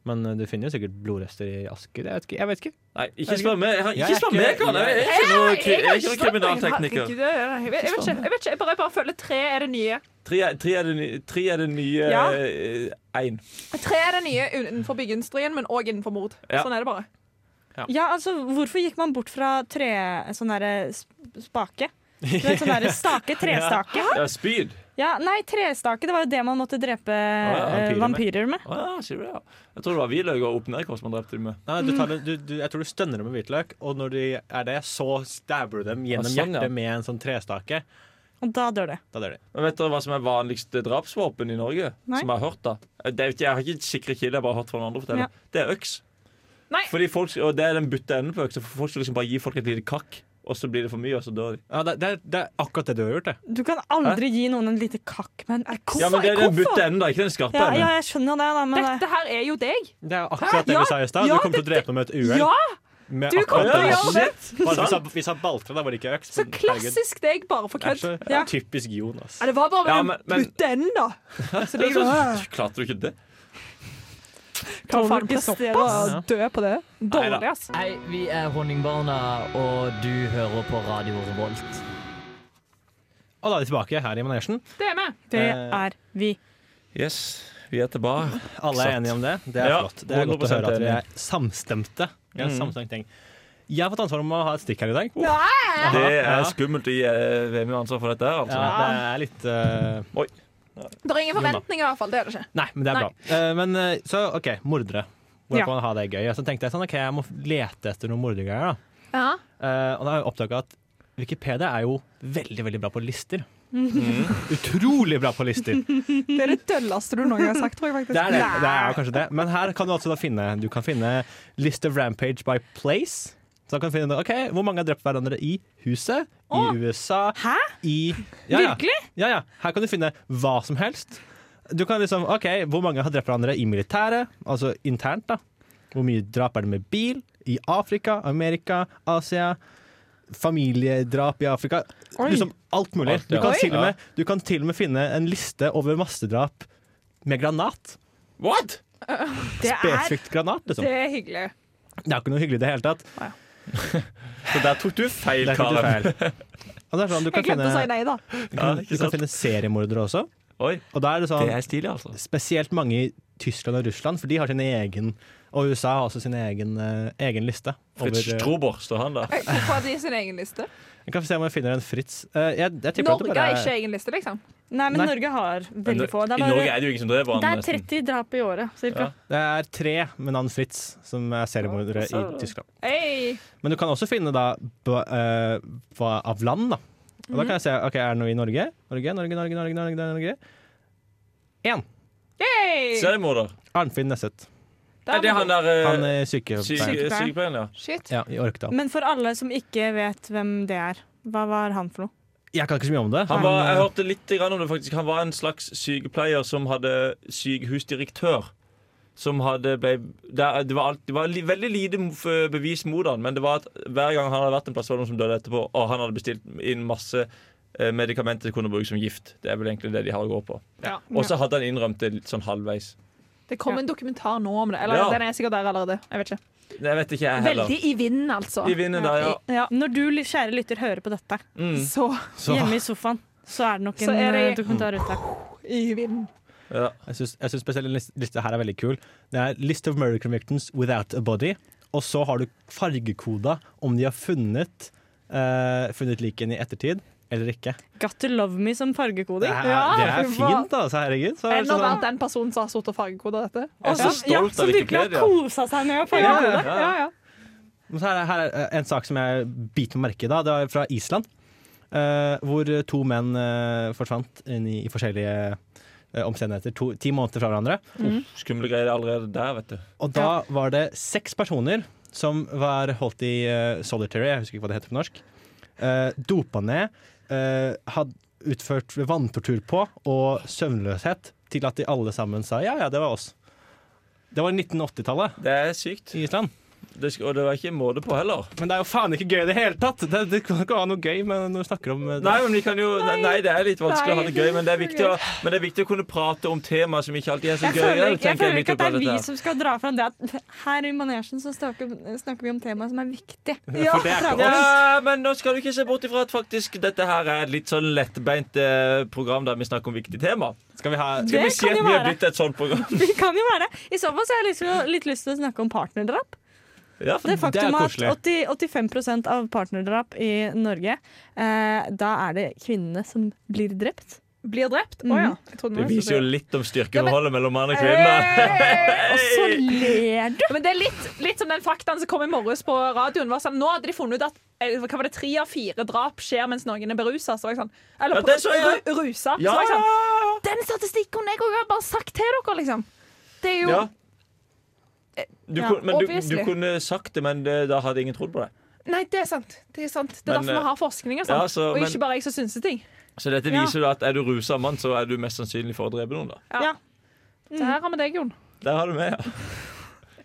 [SPEAKER 7] Men eh, du finner jo sikkert blodrester i asker. Jeg vet ikke. Jeg vet ikke.
[SPEAKER 2] Nei, ikke spør meg! Jeg har-
[SPEAKER 7] Jeg er
[SPEAKER 2] Ikke spør
[SPEAKER 7] ikke-
[SPEAKER 2] meg, Karl! Jeg er ikke noen kri- jeg er ikke noen kriminaltekniker.
[SPEAKER 4] Herregud, det er- Jeg vet jeg vet ikke. Jeg, vet ikke, jeg bare bare føler tre er det nye.
[SPEAKER 2] Tre er- tre er det ny- Tre er det nye
[SPEAKER 4] Ja.
[SPEAKER 2] eh, én.
[SPEAKER 4] Tre er det nye innenfor byggeindustrien, men òg innenfor mord.
[SPEAKER 2] Ja.
[SPEAKER 4] Sånn er det bare.
[SPEAKER 6] Ja, altså, hvorfor gikk man bort fra tre... Sånn derre sp- spake? Du vet, sånn derre
[SPEAKER 2] [LAUGHS]
[SPEAKER 6] stake? Trestake?
[SPEAKER 2] Ja, spyd.
[SPEAKER 6] Ja, nei, trestake. Det var jo det man måtte drepe eh,
[SPEAKER 7] vampyrer med.
[SPEAKER 6] vampyrer med.
[SPEAKER 2] Å ja, sier du det? ja. Jeg tror det var hvitløk og opp-ned-kors man drepte dem med.
[SPEAKER 7] Nei, du tar, det- du, du, jeg tror du stønner dem med hvitløk, og når de er det, så stabber du dem gjennom
[SPEAKER 2] Ja, sånn, ja.
[SPEAKER 7] hjertet med en sånn trestake.
[SPEAKER 6] Og da dør det.
[SPEAKER 7] Da dør de.
[SPEAKER 2] Men vet dere hva som er vanligste drapsvåpen i Norge?
[SPEAKER 6] Nei.
[SPEAKER 2] Som jeg har hørt da det, er ikke- Jeg har ikke sikre kilder, jeg har bare hørt fra noen andre fortelle.
[SPEAKER 6] Ja.
[SPEAKER 2] Det er øks.
[SPEAKER 4] Nei.
[SPEAKER 2] Fordi folk, og det er den butte enden på øksa. For folk skal liksom bare gi folk et lite kakk, og så blir det for mye, og så dør de.
[SPEAKER 7] Ja, det, det, er- det er akkurat det du har gjort, det.
[SPEAKER 6] Du kan aldri gi noen en lite kakk, men eh,
[SPEAKER 2] Ja,
[SPEAKER 6] hvorfor?
[SPEAKER 2] men det er den
[SPEAKER 4] hvorfor?
[SPEAKER 2] butte enden, da, ikke den skarpe
[SPEAKER 6] Ja, ja,
[SPEAKER 2] enden.
[SPEAKER 6] jeg skjønner det, da, men eh,
[SPEAKER 4] Dette her er jo deg.
[SPEAKER 7] Det er akkurat det
[SPEAKER 4] Ja,
[SPEAKER 7] du sa i stad.
[SPEAKER 4] ja,
[SPEAKER 7] du kommer til å drepe dem med et uhell.
[SPEAKER 4] Ja,
[SPEAKER 7] Med
[SPEAKER 4] du kommer
[SPEAKER 7] akkurat
[SPEAKER 4] til å
[SPEAKER 7] den
[SPEAKER 4] gjøre
[SPEAKER 7] øksen.
[SPEAKER 4] det.
[SPEAKER 7] Bare hvis jeg- Hvis jeg baltra, da var det ikke øks.
[SPEAKER 4] Så
[SPEAKER 7] men herregud,
[SPEAKER 4] klassisk deg, bare for
[SPEAKER 7] det er
[SPEAKER 4] kødd.
[SPEAKER 7] så-
[SPEAKER 4] Ja.
[SPEAKER 7] Typisk Jon, ass.
[SPEAKER 4] Ja, det var bare
[SPEAKER 2] Ja,
[SPEAKER 4] med
[SPEAKER 2] men-
[SPEAKER 4] den putte enden, da. Så det er jo
[SPEAKER 2] [LAUGHS] Klarte du ikke det?
[SPEAKER 4] Kan
[SPEAKER 6] Tolv
[SPEAKER 4] faen bli
[SPEAKER 6] presterer
[SPEAKER 4] såpass
[SPEAKER 7] å
[SPEAKER 4] dø på det. Dårlig, ass.
[SPEAKER 9] Hei, vi er Honningbarna, og du hører på Radio Revolt.
[SPEAKER 7] Og da er de tilbake her i manesjen.
[SPEAKER 4] Det er med.
[SPEAKER 6] Det
[SPEAKER 7] Eh,
[SPEAKER 6] er vi.
[SPEAKER 2] Yes, vi er tilbake.
[SPEAKER 7] Alle er enige om det. Det er
[SPEAKER 2] Ja,
[SPEAKER 7] flott. Det er godt å
[SPEAKER 2] 100%
[SPEAKER 7] høre at vi
[SPEAKER 2] enig.
[SPEAKER 7] er samstemte. Vi har
[SPEAKER 2] Mm.
[SPEAKER 7] samstemt ting. Jeg har fått ansvar om å ha et stikk her i dag.
[SPEAKER 2] Det
[SPEAKER 7] Aha,
[SPEAKER 2] er
[SPEAKER 7] ja.
[SPEAKER 2] skummelt å gi eh, VM ansvar for dette. her,
[SPEAKER 7] Ja,
[SPEAKER 2] altså.
[SPEAKER 7] det er litt eh,
[SPEAKER 4] Det er ingen forventninger, i hvert fall. Det er det ikke.
[SPEAKER 7] Nei, men det er
[SPEAKER 4] Nei.
[SPEAKER 7] bra. Eh, men eh, så OK, mordere. Hvordan
[SPEAKER 4] Ja.
[SPEAKER 7] kan man ha det gøy? Og Så tenkte jeg sånn, ok, jeg må lete etter noen mordergreier. da.
[SPEAKER 4] Ja.
[SPEAKER 7] Eh, og da har jeg oppdaga at Wikipedia er jo veldig veldig bra på lister. Mm. Utrolig bra på lister!
[SPEAKER 4] Det er det dølleste du noen gang har sagt, tror jeg faktisk.
[SPEAKER 7] Det er det. det er jo kanskje det. Men her kan du altså da finne Du kan finne list of rampage by place. Så da kan du finne ok, Hvor mange har drept hverandre i huset,
[SPEAKER 6] Åh.
[SPEAKER 7] i USA,
[SPEAKER 6] Hæ?
[SPEAKER 7] i ja, ja.
[SPEAKER 6] Virkelig?
[SPEAKER 7] Ja, ja. Her kan du finne hva som helst. Du kan liksom, ok, Hvor mange har drept hverandre i militæret, altså internt? da Hvor mye drap er det med bil? I Afrika, Amerika, Asia. Familiedrap i Afrika.
[SPEAKER 6] Oi.
[SPEAKER 7] Liksom alt mulig.
[SPEAKER 2] Alt,
[SPEAKER 7] Du
[SPEAKER 2] ja.
[SPEAKER 7] kan,
[SPEAKER 2] Oi.
[SPEAKER 7] til og
[SPEAKER 2] Ja.
[SPEAKER 7] med, du kan til og med finne en liste over massedrap med granat.
[SPEAKER 2] What?!
[SPEAKER 4] Det er,
[SPEAKER 7] Spesifikt granat, liksom.
[SPEAKER 4] det er hyggelig.
[SPEAKER 7] Det er jo ikke noe hyggelig i det hele tatt.
[SPEAKER 2] Så der tok du feil,
[SPEAKER 7] Det er ikke
[SPEAKER 2] Karen.
[SPEAKER 7] feil. Og det er sånn, du
[SPEAKER 4] Jeg
[SPEAKER 7] kan
[SPEAKER 4] glemte
[SPEAKER 7] finne,
[SPEAKER 4] å si nei, da.
[SPEAKER 2] Ja,
[SPEAKER 7] du
[SPEAKER 2] ikke
[SPEAKER 7] kan
[SPEAKER 2] sant?
[SPEAKER 7] finne seriemordere også.
[SPEAKER 2] Oi,
[SPEAKER 7] Og da er det
[SPEAKER 2] det
[SPEAKER 7] sånn,
[SPEAKER 2] er stilig, altså.
[SPEAKER 7] spesielt mange i Tyskland og Russland, for de har sin egen Og USA har også sin egen, eh, egen liste. Over,
[SPEAKER 2] Fritz
[SPEAKER 7] eh,
[SPEAKER 2] Strober, står han der.
[SPEAKER 4] Hvorfor hadde de sin egen liste?
[SPEAKER 7] jeg kan få se om jeg finner en Fritz. Eh, jeg, jeg tipper at det
[SPEAKER 4] Norge
[SPEAKER 7] bare
[SPEAKER 4] har ikke egen liste, liksom.
[SPEAKER 6] Nei, men
[SPEAKER 7] Nei.
[SPEAKER 6] Norge har
[SPEAKER 2] Men
[SPEAKER 6] veldig få. Det
[SPEAKER 2] I
[SPEAKER 6] er,
[SPEAKER 2] Norge
[SPEAKER 6] bare,
[SPEAKER 2] er det jo ingen som dreper
[SPEAKER 6] det
[SPEAKER 2] han.
[SPEAKER 6] er
[SPEAKER 2] nesten.
[SPEAKER 6] 30 drap i året, cirka.
[SPEAKER 7] Det er tre med navn Fritz som er seriemordere i Tyskland.
[SPEAKER 4] Hey.
[SPEAKER 7] Men du kan også finne da ba- eh, hva- av land, da. Og da kan jeg se
[SPEAKER 4] Mhm.
[SPEAKER 7] ok, er det noe i Norge. Norge, Norge, Norge, Norge, Norge, Norge.
[SPEAKER 4] Hey.
[SPEAKER 2] Seriemorder.
[SPEAKER 7] Arnfinn Nesset.
[SPEAKER 4] Det
[SPEAKER 2] Er det han der eh,
[SPEAKER 7] Han er sykepleier.
[SPEAKER 2] syke- sykepleieren, ja?
[SPEAKER 6] Shit.
[SPEAKER 7] Ja, i Orkdal.
[SPEAKER 6] Men for alle som ikke vet hvem det er, hva var han for noe?
[SPEAKER 7] Jeg kan ikke så mye om det.
[SPEAKER 2] Han var, jeg
[SPEAKER 7] eh,
[SPEAKER 2] hørte litt grann om det faktisk Han var en slags sykepleier som hadde sykehusdirektør Som hadde ble, det, det, var alt, det var li, veldig lite f- bevis mot han Men det var at hver gang han hadde vært en plass var det noen som døde etterpå Og han hadde bestilt inn masse eh, medikamenter som kunne brukes som gift Det er vel egentlig det de har å gå på
[SPEAKER 4] Ja.
[SPEAKER 2] Og så hadde han innrømt det litt sånn halvveis
[SPEAKER 4] Det kom en dokumentar nå om det. Eller
[SPEAKER 2] Ja.
[SPEAKER 4] den er sikkert der allerede. Jeg vet ikke.
[SPEAKER 2] Nei, Jeg vet ikke jeg heller
[SPEAKER 4] Veldig i vinden, altså.
[SPEAKER 2] I vinden der, ja
[SPEAKER 4] Ja.
[SPEAKER 6] Når du, kjære lytter, hører på dette
[SPEAKER 2] mm.
[SPEAKER 4] Så
[SPEAKER 7] så,
[SPEAKER 6] hjemme i sofaen, så er det nok
[SPEAKER 4] Så
[SPEAKER 6] en
[SPEAKER 4] er det-
[SPEAKER 6] eh, dokumentar ute.
[SPEAKER 4] i vinden.
[SPEAKER 2] ja.
[SPEAKER 7] jeg syns jeg syns spesielt den lis- lista her er veldig kul. Det er List of murder convictions without a body. Og så har du fargekoda om de har funnet, uh, funnet liken i ettertid eller ikke.
[SPEAKER 6] Got to love me som
[SPEAKER 7] Det
[SPEAKER 6] fargekoding.
[SPEAKER 7] er,
[SPEAKER 4] Ja,
[SPEAKER 7] det er
[SPEAKER 4] fy faen.
[SPEAKER 7] fint, altså. Herregud. Så, er det
[SPEAKER 4] Enda
[SPEAKER 7] sånn,
[SPEAKER 4] verdt den personen som har sittet og fargekoda dette.
[SPEAKER 2] Jeg er så
[SPEAKER 6] ja,
[SPEAKER 2] stolt
[SPEAKER 6] som
[SPEAKER 2] av
[SPEAKER 6] virkelig har
[SPEAKER 2] Wikipedia
[SPEAKER 6] kosa seg med å farge
[SPEAKER 7] Ja,
[SPEAKER 6] koder.
[SPEAKER 7] ja,
[SPEAKER 4] Ja, ja.
[SPEAKER 7] Men så her er, her er en sak som jeg biter meg merke i. da Det er fra Island. eh, hvor to menn eh, forsvant inn i, i forskjellige eh, omstendigheter. To, ti måneder fra hverandre.
[SPEAKER 2] Skumle greier allerede der, vet du
[SPEAKER 7] Og da var det seks personer som var holdt i eh, solitary, jeg husker ikke hva det heter på norsk. eh, dopa ned, eh, hadde utført vanntortur på og søvnløshet til at de alle sammen sa ja, ja, det var oss. Det var 1980-tallet
[SPEAKER 2] Det er sykt
[SPEAKER 7] i Island.
[SPEAKER 2] det, sk- Og det var ikke en måte på heller
[SPEAKER 7] Men det er jo faen ikke gøy i det hele tatt! Det, det kan ikke være noe gøy med når du snakker om eh,
[SPEAKER 2] Nei, men vi kan jo, nei, nei, det er litt vanskelig å ha det gøy, men det er viktig å, men det er viktig å kunne prate om temaer som ikke alltid er så
[SPEAKER 6] Jeg
[SPEAKER 2] gøy.
[SPEAKER 6] føler, ikke, jeg
[SPEAKER 2] tenker
[SPEAKER 6] føler
[SPEAKER 2] midt
[SPEAKER 6] ikke at
[SPEAKER 2] oppi
[SPEAKER 6] det er
[SPEAKER 2] alt
[SPEAKER 6] vi
[SPEAKER 2] dette her.
[SPEAKER 6] som skal dra fram det at her i manesjen så snakker, snakker vi om temaer som er
[SPEAKER 2] [LAUGHS]
[SPEAKER 6] viktige.
[SPEAKER 7] det er ikke
[SPEAKER 2] Ja, men nå skal du ikke se bort ifra at faktisk dette her er et litt sånn lettbeint eh, program der vi snakker om viktige tema.
[SPEAKER 7] Skal vi ha
[SPEAKER 6] Det
[SPEAKER 2] Skal vi si
[SPEAKER 6] kan
[SPEAKER 2] at
[SPEAKER 6] jo
[SPEAKER 2] vi er
[SPEAKER 6] være.
[SPEAKER 2] blitt et sånt program?
[SPEAKER 6] [LAUGHS]
[SPEAKER 2] [LAUGHS]
[SPEAKER 6] Vi kan jo være det. I så fall så har jeg liksom litt lyst til å snakke om partnerdrap.
[SPEAKER 2] Ja,
[SPEAKER 6] Det faktum at
[SPEAKER 7] koselig.
[SPEAKER 6] 80, 85 av partnerdrap i Norge, eh, da er det kvinnene som blir drept.
[SPEAKER 4] Blir drept? Å
[SPEAKER 6] Mhm.
[SPEAKER 4] ja. Jeg trodde
[SPEAKER 2] det
[SPEAKER 4] var-
[SPEAKER 2] viser jo litt om styrkeforholdet mellom mann og
[SPEAKER 6] Eh,
[SPEAKER 2] kvinne.
[SPEAKER 4] Hey!
[SPEAKER 6] Og så ler du!
[SPEAKER 4] Ja, Men det er litt, litt som den faktaen som kom i morges på radioen. Var sånn, nå hadde de funnet ut at eh, hva var det, tre av fire drap skjer mens noen er berusa. Så var jeg sånn, eller
[SPEAKER 2] Ja, det så jeg.
[SPEAKER 4] ru- rusa. Så
[SPEAKER 2] Ja,
[SPEAKER 4] var jeg sånn, den statistikken jeg også har bare sagt til dere, liksom. Det er jo
[SPEAKER 2] ja. Du,
[SPEAKER 4] Ja,
[SPEAKER 2] kunne- men du, du
[SPEAKER 4] obviously. kunne
[SPEAKER 2] kunne sagt det, men det, da hadde ingen trodd på det.
[SPEAKER 4] Nei, det er sant. Det er, sant. Det er
[SPEAKER 2] Men,
[SPEAKER 4] derfor
[SPEAKER 2] eh,
[SPEAKER 4] vi har forskning og sånn.
[SPEAKER 2] ja, så-
[SPEAKER 4] og
[SPEAKER 2] men-
[SPEAKER 4] ikke bare jeg som synser ting.
[SPEAKER 2] Så dette
[SPEAKER 4] Ja.
[SPEAKER 2] viser jo at er du rusa mann, så er du mest sannsynlig for å drepe noen. da.
[SPEAKER 4] Det her har vi deg, Jon.
[SPEAKER 2] Der har du med, ja.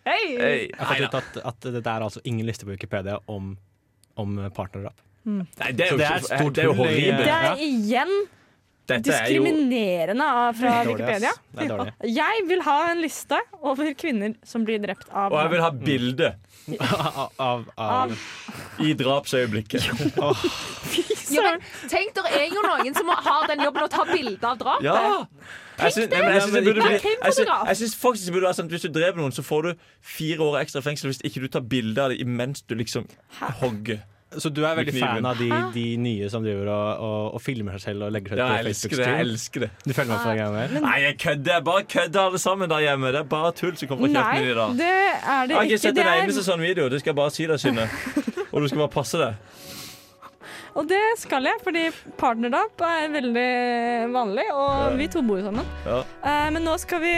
[SPEAKER 4] Hei!
[SPEAKER 2] Hey.
[SPEAKER 7] Jeg har fått ut at, at det er altså ingen liste på Wikipedia om, om partnerdrap.
[SPEAKER 2] Nei, det er
[SPEAKER 7] Så
[SPEAKER 2] jo,
[SPEAKER 7] det er
[SPEAKER 2] ikke-
[SPEAKER 7] et stort
[SPEAKER 2] det er jo
[SPEAKER 7] hull i-
[SPEAKER 2] horribelt.
[SPEAKER 6] Det
[SPEAKER 7] Ja.
[SPEAKER 6] er igjen
[SPEAKER 2] Dette er jo
[SPEAKER 6] diskriminerende av- fra
[SPEAKER 7] Dårlig, ass.
[SPEAKER 6] Wikipedia.
[SPEAKER 7] Det er [LAUGHS] dårlig.
[SPEAKER 6] Jeg vil ha en liste over kvinner som blir drept av
[SPEAKER 2] Og jeg vil ha bilde
[SPEAKER 7] Av, av,
[SPEAKER 6] Av-
[SPEAKER 7] av.
[SPEAKER 2] i drapsøyeblikket.
[SPEAKER 4] Ja, men, tenk, det er jo noen som har den jobben å ta bilde av drapet.
[SPEAKER 2] Ja! Jeg syns nei, men jeg syns det burde
[SPEAKER 4] Da er
[SPEAKER 2] bli Jeg syns,
[SPEAKER 4] krimfotograf.
[SPEAKER 2] jeg syns faktisk det burde være sånn at hvis du dreper noen, så får du fire år ekstra i fengsel hvis ikke du tar bilde av det imens du liksom hogger.
[SPEAKER 7] Så du er veldig
[SPEAKER 2] Med kniven.
[SPEAKER 7] fan av de, de nye som driver og, og, og filmer seg selv og legger seg
[SPEAKER 2] Ja,
[SPEAKER 7] ut
[SPEAKER 2] jeg
[SPEAKER 7] på
[SPEAKER 2] elsker det. jeg
[SPEAKER 7] Facebook-stream?
[SPEAKER 2] elsker det
[SPEAKER 7] Du følger med på den greia der?
[SPEAKER 2] Nei, jeg kødder. Jeg bare kødder alle sammen der hjemme. Det er bare tull som kommer fra kjeften
[SPEAKER 6] Nei,
[SPEAKER 2] min i dag.
[SPEAKER 6] det er
[SPEAKER 2] Jeg
[SPEAKER 6] det
[SPEAKER 2] har ikke
[SPEAKER 6] ikke.
[SPEAKER 2] sett
[SPEAKER 6] Det
[SPEAKER 2] en
[SPEAKER 6] er,
[SPEAKER 2] eneste sånn video. Det skal jeg bare si deg, Synne. Og du skal bare passe deg.
[SPEAKER 6] og det skal jeg, fordi partnerdrap er veldig vanlig, og vi to bor jo sammen.
[SPEAKER 2] Ja.
[SPEAKER 6] Eh, men nå skal vi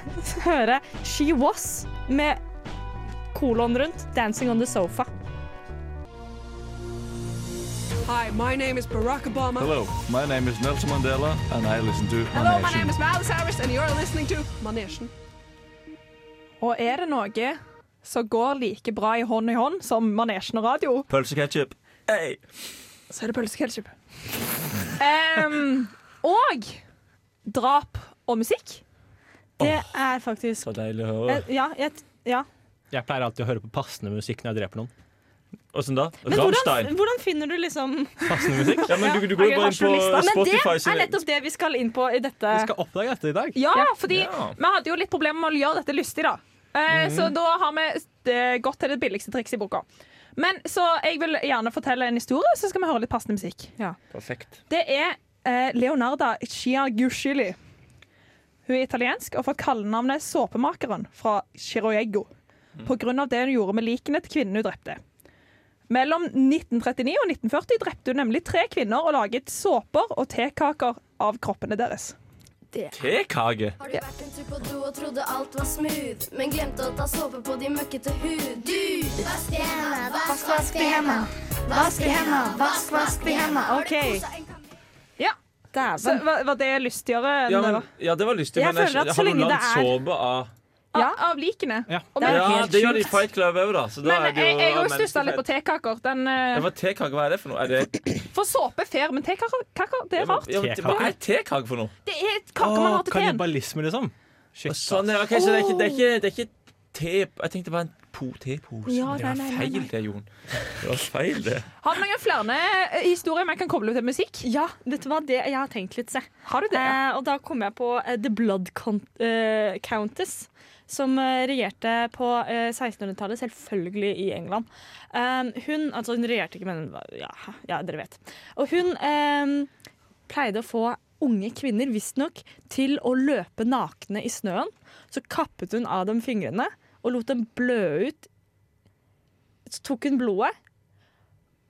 [SPEAKER 6] [LAUGHS] høre She Was med kolon rundt 'Dancing on the Sofa'.
[SPEAKER 10] Hi, my name is Barack Obama.
[SPEAKER 3] Hello, my name is Nelson Mandela, and I listen to
[SPEAKER 10] Hello, my name is Miles Harris, and you're listening to Manation.
[SPEAKER 4] Og er det noe som går like bra i hånd i hånd som manesjen og radio,
[SPEAKER 2] Pølseketchup. Hey.
[SPEAKER 4] så er det pølseketsjup. og drap og musikk.
[SPEAKER 6] Det er faktisk
[SPEAKER 2] Så deilig å høre.
[SPEAKER 6] eh, Ja. Jeg, ja.
[SPEAKER 7] Jeg pleier alltid å høre på passende musikk når jeg dreper noen.
[SPEAKER 2] Åssen da?
[SPEAKER 6] Men hvordan,
[SPEAKER 2] Rammstein.
[SPEAKER 6] hvordan finner du liksom
[SPEAKER 7] Passende musikk?
[SPEAKER 2] Ja, men du, du går jo
[SPEAKER 4] Ok,
[SPEAKER 2] bare inn på
[SPEAKER 4] rasjonalista.
[SPEAKER 6] Men det
[SPEAKER 2] Spotify
[SPEAKER 6] er
[SPEAKER 2] sin
[SPEAKER 6] nettopp det vi skal inn på i dette.
[SPEAKER 7] Vi skal oppdage dette i dag.
[SPEAKER 4] Ja, fordi
[SPEAKER 2] Ja.
[SPEAKER 4] vi hadde jo litt problemer med å gjøre dette lystig, da. Eh, Så da har vi eh, gått til det billigste trikset i boka. Men Så jeg vil gjerne fortelle en historie, så skal vi høre litt passende musikk.
[SPEAKER 2] Perfekt.
[SPEAKER 4] Det er eh, Leonarda Sciaguschili. Hun er italiensk og får kallenavnet Såpemakeren fra Chiroeggo
[SPEAKER 2] Mm.
[SPEAKER 4] pga. det hun gjorde med likene til kvinnen hun drepte. Mellom 1939 og 1940 drepte hun nemlig tre kvinner og laget såper og tekaker av kroppene deres.
[SPEAKER 6] Det
[SPEAKER 2] Tekake?
[SPEAKER 11] Har du vært en tur på do og trodde alt var smooth, men glemte å ta såpe på din møkkete hud? Du! Vask de hendene, vask, vask de hendene. Vask de hendene, vask, vask de hendene. Har du koset en gang?
[SPEAKER 4] Ja. Så, var, var det lystigere? enn
[SPEAKER 2] Ja,
[SPEAKER 4] det
[SPEAKER 2] men,
[SPEAKER 4] var?
[SPEAKER 2] ja, det var lystig,
[SPEAKER 4] Jeg
[SPEAKER 2] men jeg,
[SPEAKER 4] føler at så
[SPEAKER 2] har du
[SPEAKER 4] lenge
[SPEAKER 2] lagd
[SPEAKER 4] det er-
[SPEAKER 2] såpe av
[SPEAKER 4] Av, av likene. Og
[SPEAKER 2] Ja,
[SPEAKER 4] men-
[SPEAKER 2] det gjør de i Fight Club òg, da. Så da
[SPEAKER 4] Men
[SPEAKER 2] er det
[SPEAKER 4] jeg,
[SPEAKER 2] jo
[SPEAKER 4] jeg har jo
[SPEAKER 2] menneskefett.
[SPEAKER 4] stussa litt på tekekaker. Den, eh,
[SPEAKER 2] Ja, men tekake, hva er det for noe? Er det,
[SPEAKER 4] for såpe er fair, men tekekaker kaker, det er rart.
[SPEAKER 2] ja, men, hva er tekake for noe?
[SPEAKER 4] Det er kaker man har til teen.
[SPEAKER 7] Kannibalisme, liksom.
[SPEAKER 2] Shit, sånn, ja, ok, så det er ikke, det er ikke, det er ikke te... Jeg tenkte det var en po tepose.
[SPEAKER 4] Ja,
[SPEAKER 2] det var
[SPEAKER 4] nei, nei, nei,
[SPEAKER 2] feil, det, Jon. Det var feil, det.
[SPEAKER 4] Har du noen flere eh, historier man kan koble til musikk?
[SPEAKER 6] Ja, vet du hva? Det, jeg har tenkt litt, se.
[SPEAKER 4] Har du det?
[SPEAKER 6] Eh, og da kom jeg på eh, The Blood Count, eh, Countess, som eh, regjerte på eh, 1600-tallet, selvfølgelig i England. Eh, hun, altså hun regjerte ikke, men ja, ja dere vet. Og hun eh, pleide å få unge kvinner, visstnok, til å løpe nakne i snøen. Så kappet hun av dem fingrene og lot dem blø ut. Så tok hun blodet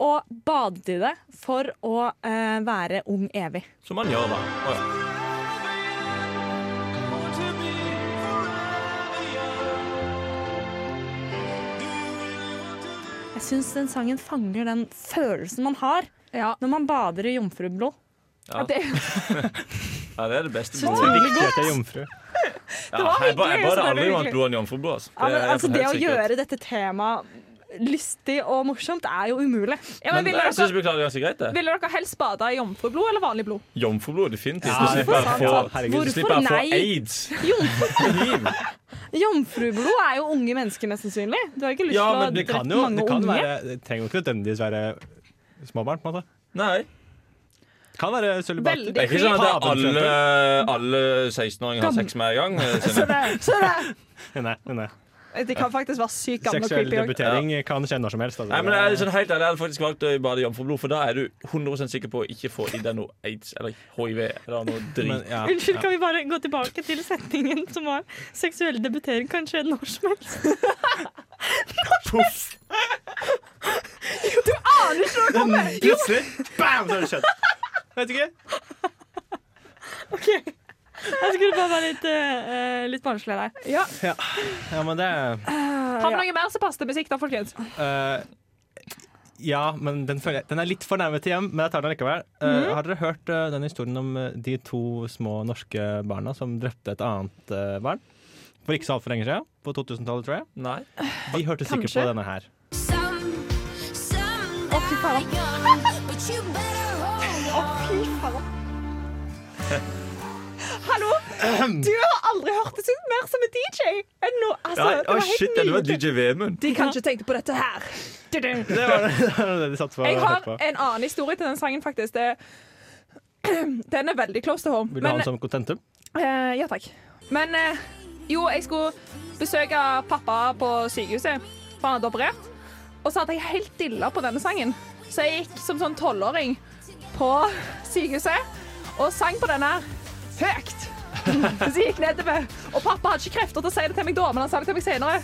[SPEAKER 6] og badet i det for å eh, være ung evig.
[SPEAKER 2] Som man gjør, da. Å, ja.
[SPEAKER 6] Jeg syns den sangen fanger den følelsen man har når man bader i jomfrublod.
[SPEAKER 2] Ja.
[SPEAKER 6] At det,
[SPEAKER 2] ja, det er det beste.
[SPEAKER 6] Så
[SPEAKER 2] blodet.
[SPEAKER 6] det er
[SPEAKER 7] viktig at jeg er jomfru.
[SPEAKER 2] Ja,
[SPEAKER 6] var
[SPEAKER 2] jeg ba-
[SPEAKER 6] hyggelig,
[SPEAKER 2] Jeg
[SPEAKER 6] så
[SPEAKER 2] bader
[SPEAKER 6] det er
[SPEAKER 2] aldri
[SPEAKER 6] hyggelig.
[SPEAKER 2] blant blod enn jomfrublodet. altså.
[SPEAKER 6] ja, men,
[SPEAKER 2] er
[SPEAKER 6] altså,
[SPEAKER 2] helt
[SPEAKER 6] det å
[SPEAKER 2] sikkert.
[SPEAKER 6] gjøre dette temaet lystig og morsomt er jo umulig.
[SPEAKER 2] Men jeg syns vi klarer det ganske greit, det.
[SPEAKER 4] Ville dere helst bade i jomfrublod eller vanlig blod?
[SPEAKER 2] Jomfrublod, definitivt.
[SPEAKER 7] Ja,
[SPEAKER 2] Ja, så slipper jeg å
[SPEAKER 7] hvorfor?
[SPEAKER 2] få,
[SPEAKER 7] Herregud,
[SPEAKER 2] så
[SPEAKER 6] så
[SPEAKER 2] slipper jeg å få
[SPEAKER 6] hvorfor nei?
[SPEAKER 2] aids.
[SPEAKER 6] [LAUGHS] Jomfrublod er jo unge mennesker, mest sannsynlig. Du har ikke lyst
[SPEAKER 7] Ja,
[SPEAKER 6] til å
[SPEAKER 7] men det
[SPEAKER 6] drepe
[SPEAKER 7] kan jo,
[SPEAKER 6] mange
[SPEAKER 7] det kan
[SPEAKER 6] unge.
[SPEAKER 7] være Det trenger jo ikke nødvendigvis være småbarn, på en måte.
[SPEAKER 2] Nei.
[SPEAKER 7] Kan være sølibat.
[SPEAKER 2] Det er ikke sånn at det er alle, alle 16-åringer har
[SPEAKER 4] Gam-
[SPEAKER 2] sex med en gang. eh,
[SPEAKER 4] Så
[SPEAKER 2] Synne.
[SPEAKER 4] det, så det,
[SPEAKER 7] Nei, nei, nei.
[SPEAKER 4] det kan faktisk være sykt gammel og
[SPEAKER 7] Seksuell
[SPEAKER 4] creepy. også.
[SPEAKER 7] debutering kan skje når som helst. altså.
[SPEAKER 2] Nei, men det er sånn helt ærlig, Jeg hadde faktisk valgt å bade i jomfrublod, for da er du 100 sikker på å ikke få i deg noe aids eller hiv eller noe
[SPEAKER 7] Men, Altså,
[SPEAKER 2] drit.
[SPEAKER 7] ja,
[SPEAKER 6] Unnskyld,
[SPEAKER 7] ja.
[SPEAKER 6] kan vi bare gå tilbake til setningen som var seksuell debutering kan skje når som helst?
[SPEAKER 7] Poff!
[SPEAKER 4] Du aner ikke når det kommer!
[SPEAKER 7] Plutselig, bam, så har det skjedd. Vet ikke.
[SPEAKER 6] Jeg skulle bare være litt, eh, litt barnslig Eh, der.
[SPEAKER 4] Ja.
[SPEAKER 7] Ja, ja men det er
[SPEAKER 4] Har vi noe mer som passer til musikk, da, folkens?
[SPEAKER 7] Eh, ja, men den, føler jeg, den er litt for nærme til hjem, men jeg tar den likevel. Eh,
[SPEAKER 4] Mhm.
[SPEAKER 7] Har dere hørt eh, den historien om eh, de to små norske barna som drepte et annet eh, barn? For ikke så altfor lenge siden. På 2000-tallet, tror jeg.
[SPEAKER 2] Nei.
[SPEAKER 7] De hørte sikkert på
[SPEAKER 4] Kanskje.
[SPEAKER 7] denne her. [LAUGHS]
[SPEAKER 11] Å, fy faen.
[SPEAKER 4] Hallo! Du har aldri hørt det ut mer som en DJ enn nå. Altså,
[SPEAKER 2] Nei,
[SPEAKER 4] det var
[SPEAKER 2] å,
[SPEAKER 4] helt
[SPEAKER 2] shit, ja, du var
[SPEAKER 4] nydelig.
[SPEAKER 2] DJ Vemund.
[SPEAKER 4] De kan ikke tenke på dette her. Du, du.
[SPEAKER 7] Det var det, det, var det de satt på.
[SPEAKER 4] Jeg har
[SPEAKER 7] hørte på.
[SPEAKER 4] en annen historie til den sangen, faktisk. Det, [CLEARS THROAT] den er veldig close to home.
[SPEAKER 7] Vil du ha den som kontentum?
[SPEAKER 4] eh, ja takk. Men eh, jo, jeg skulle besøke pappa på sykehuset, for han hadde operert. Og så hadde jeg helt dilla på denne sangen. Så jeg gikk som sånn tolvåring på sykehuset og sang på denne her høyt. [LAUGHS] Så jeg gikk nedover. Og pappa hadde ikke krefter til å si det til meg da, men han sa det til meg senere.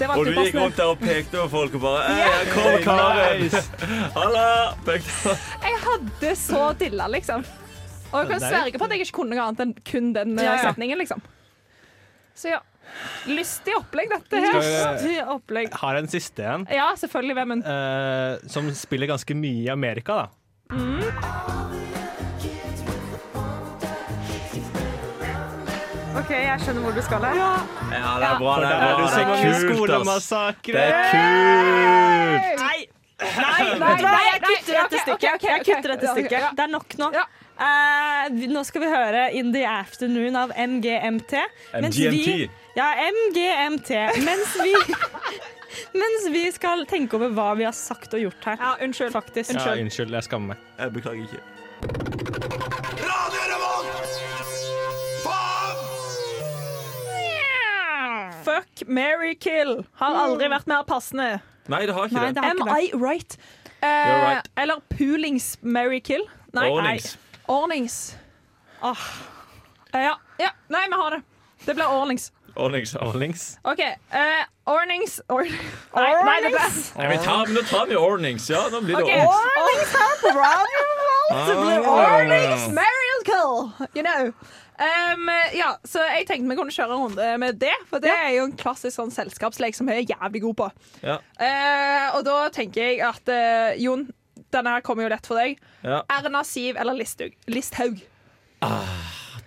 [SPEAKER 4] Det var
[SPEAKER 2] Og du
[SPEAKER 4] alltid
[SPEAKER 2] gikk rundt
[SPEAKER 4] passende.
[SPEAKER 2] der og pekte på folk og bare «Ei, jeg kom, Karen! Halla! Pekte.
[SPEAKER 4] Jeg hadde så dilla, liksom. Og jeg kan
[SPEAKER 7] Det er
[SPEAKER 4] sverge på at jeg ikke kunne noe annet enn kun den eh,
[SPEAKER 6] Ja, ja.
[SPEAKER 4] setningen, liksom. Så ja. Lystig opplegg, dette
[SPEAKER 7] Skal
[SPEAKER 4] her.
[SPEAKER 7] [LAUGHS] vi-
[SPEAKER 6] Til opplegg.
[SPEAKER 7] Har jeg en siste en,
[SPEAKER 4] Ja, selvfølgelig. Hvem en
[SPEAKER 7] eh, som spiller ganske mye i Amerika, da.
[SPEAKER 4] OK, jeg skjønner hvor du skal her.
[SPEAKER 2] Ja, det er bra.
[SPEAKER 7] For
[SPEAKER 2] Det
[SPEAKER 7] der
[SPEAKER 2] er, bra.
[SPEAKER 7] er du
[SPEAKER 2] Det
[SPEAKER 7] sikkert
[SPEAKER 2] er kult, ass.
[SPEAKER 7] skolemassakre.
[SPEAKER 2] Det er kult!
[SPEAKER 4] Nei,
[SPEAKER 6] Nei,
[SPEAKER 4] nei,
[SPEAKER 6] vet du hva?
[SPEAKER 4] nei,
[SPEAKER 6] jeg
[SPEAKER 4] nei,
[SPEAKER 6] kutter
[SPEAKER 4] ok,
[SPEAKER 6] dette
[SPEAKER 4] ok,
[SPEAKER 6] stykket.
[SPEAKER 4] ok,
[SPEAKER 6] Jeg
[SPEAKER 4] ok,
[SPEAKER 6] kutter dette
[SPEAKER 4] ja, ok, ja.
[SPEAKER 6] stykket. Det er nok nå.
[SPEAKER 4] Ja.
[SPEAKER 6] Eh, vi- nå skal vi høre In The Afternoon av MGMT. mens
[SPEAKER 2] MGMT.
[SPEAKER 6] Vi, ja, MGMT. Mens vi,
[SPEAKER 4] [LAUGHS]
[SPEAKER 6] mens vi skal tenke over hva vi har sagt og gjort her.
[SPEAKER 4] Ja, unnskyld.
[SPEAKER 6] Faktisk.
[SPEAKER 7] Ja, unnskyld, jeg skammer meg.
[SPEAKER 2] Jeg beklager ikke.
[SPEAKER 4] Fuck, marry, kill. Har aldri vært mer passende.
[SPEAKER 2] Nei, det har ikke
[SPEAKER 6] Mm. Nei,
[SPEAKER 2] det.
[SPEAKER 6] det er
[SPEAKER 4] Am
[SPEAKER 6] ikke det.
[SPEAKER 4] I right? Eh,
[SPEAKER 2] right.
[SPEAKER 4] Eller poolings, marry, kill. Nei,
[SPEAKER 2] Ordnings.
[SPEAKER 4] nei. Ordnings. Ah. Eh, Ja, ja. Nei, vi har det. Det blir ordnings.
[SPEAKER 2] Ordnings.
[SPEAKER 7] Links.
[SPEAKER 4] OK. eh, ordnings
[SPEAKER 6] [LAUGHS]
[SPEAKER 4] or Nei, nei, det ble
[SPEAKER 2] Nei, vi tar, men nå tar vi ordnings. Ja, nå blir det
[SPEAKER 4] Ok.
[SPEAKER 2] ordnings.
[SPEAKER 4] Ordnings her på Radio Revolt. Det blir
[SPEAKER 2] Ah.
[SPEAKER 4] ordnings, marry and kill. You know. Ehm, ja, så jeg tenkte vi kunne kjøre en runde med det, for det er jo en klassisk sånn selskapslek som jeg er jævlig god på.
[SPEAKER 2] Ja.
[SPEAKER 4] Eh, og da tenker jeg at eh, Jon, denne her kommer jo lett for deg.
[SPEAKER 2] Ja.
[SPEAKER 4] Erna Siv eller Listhaug? Listhaug.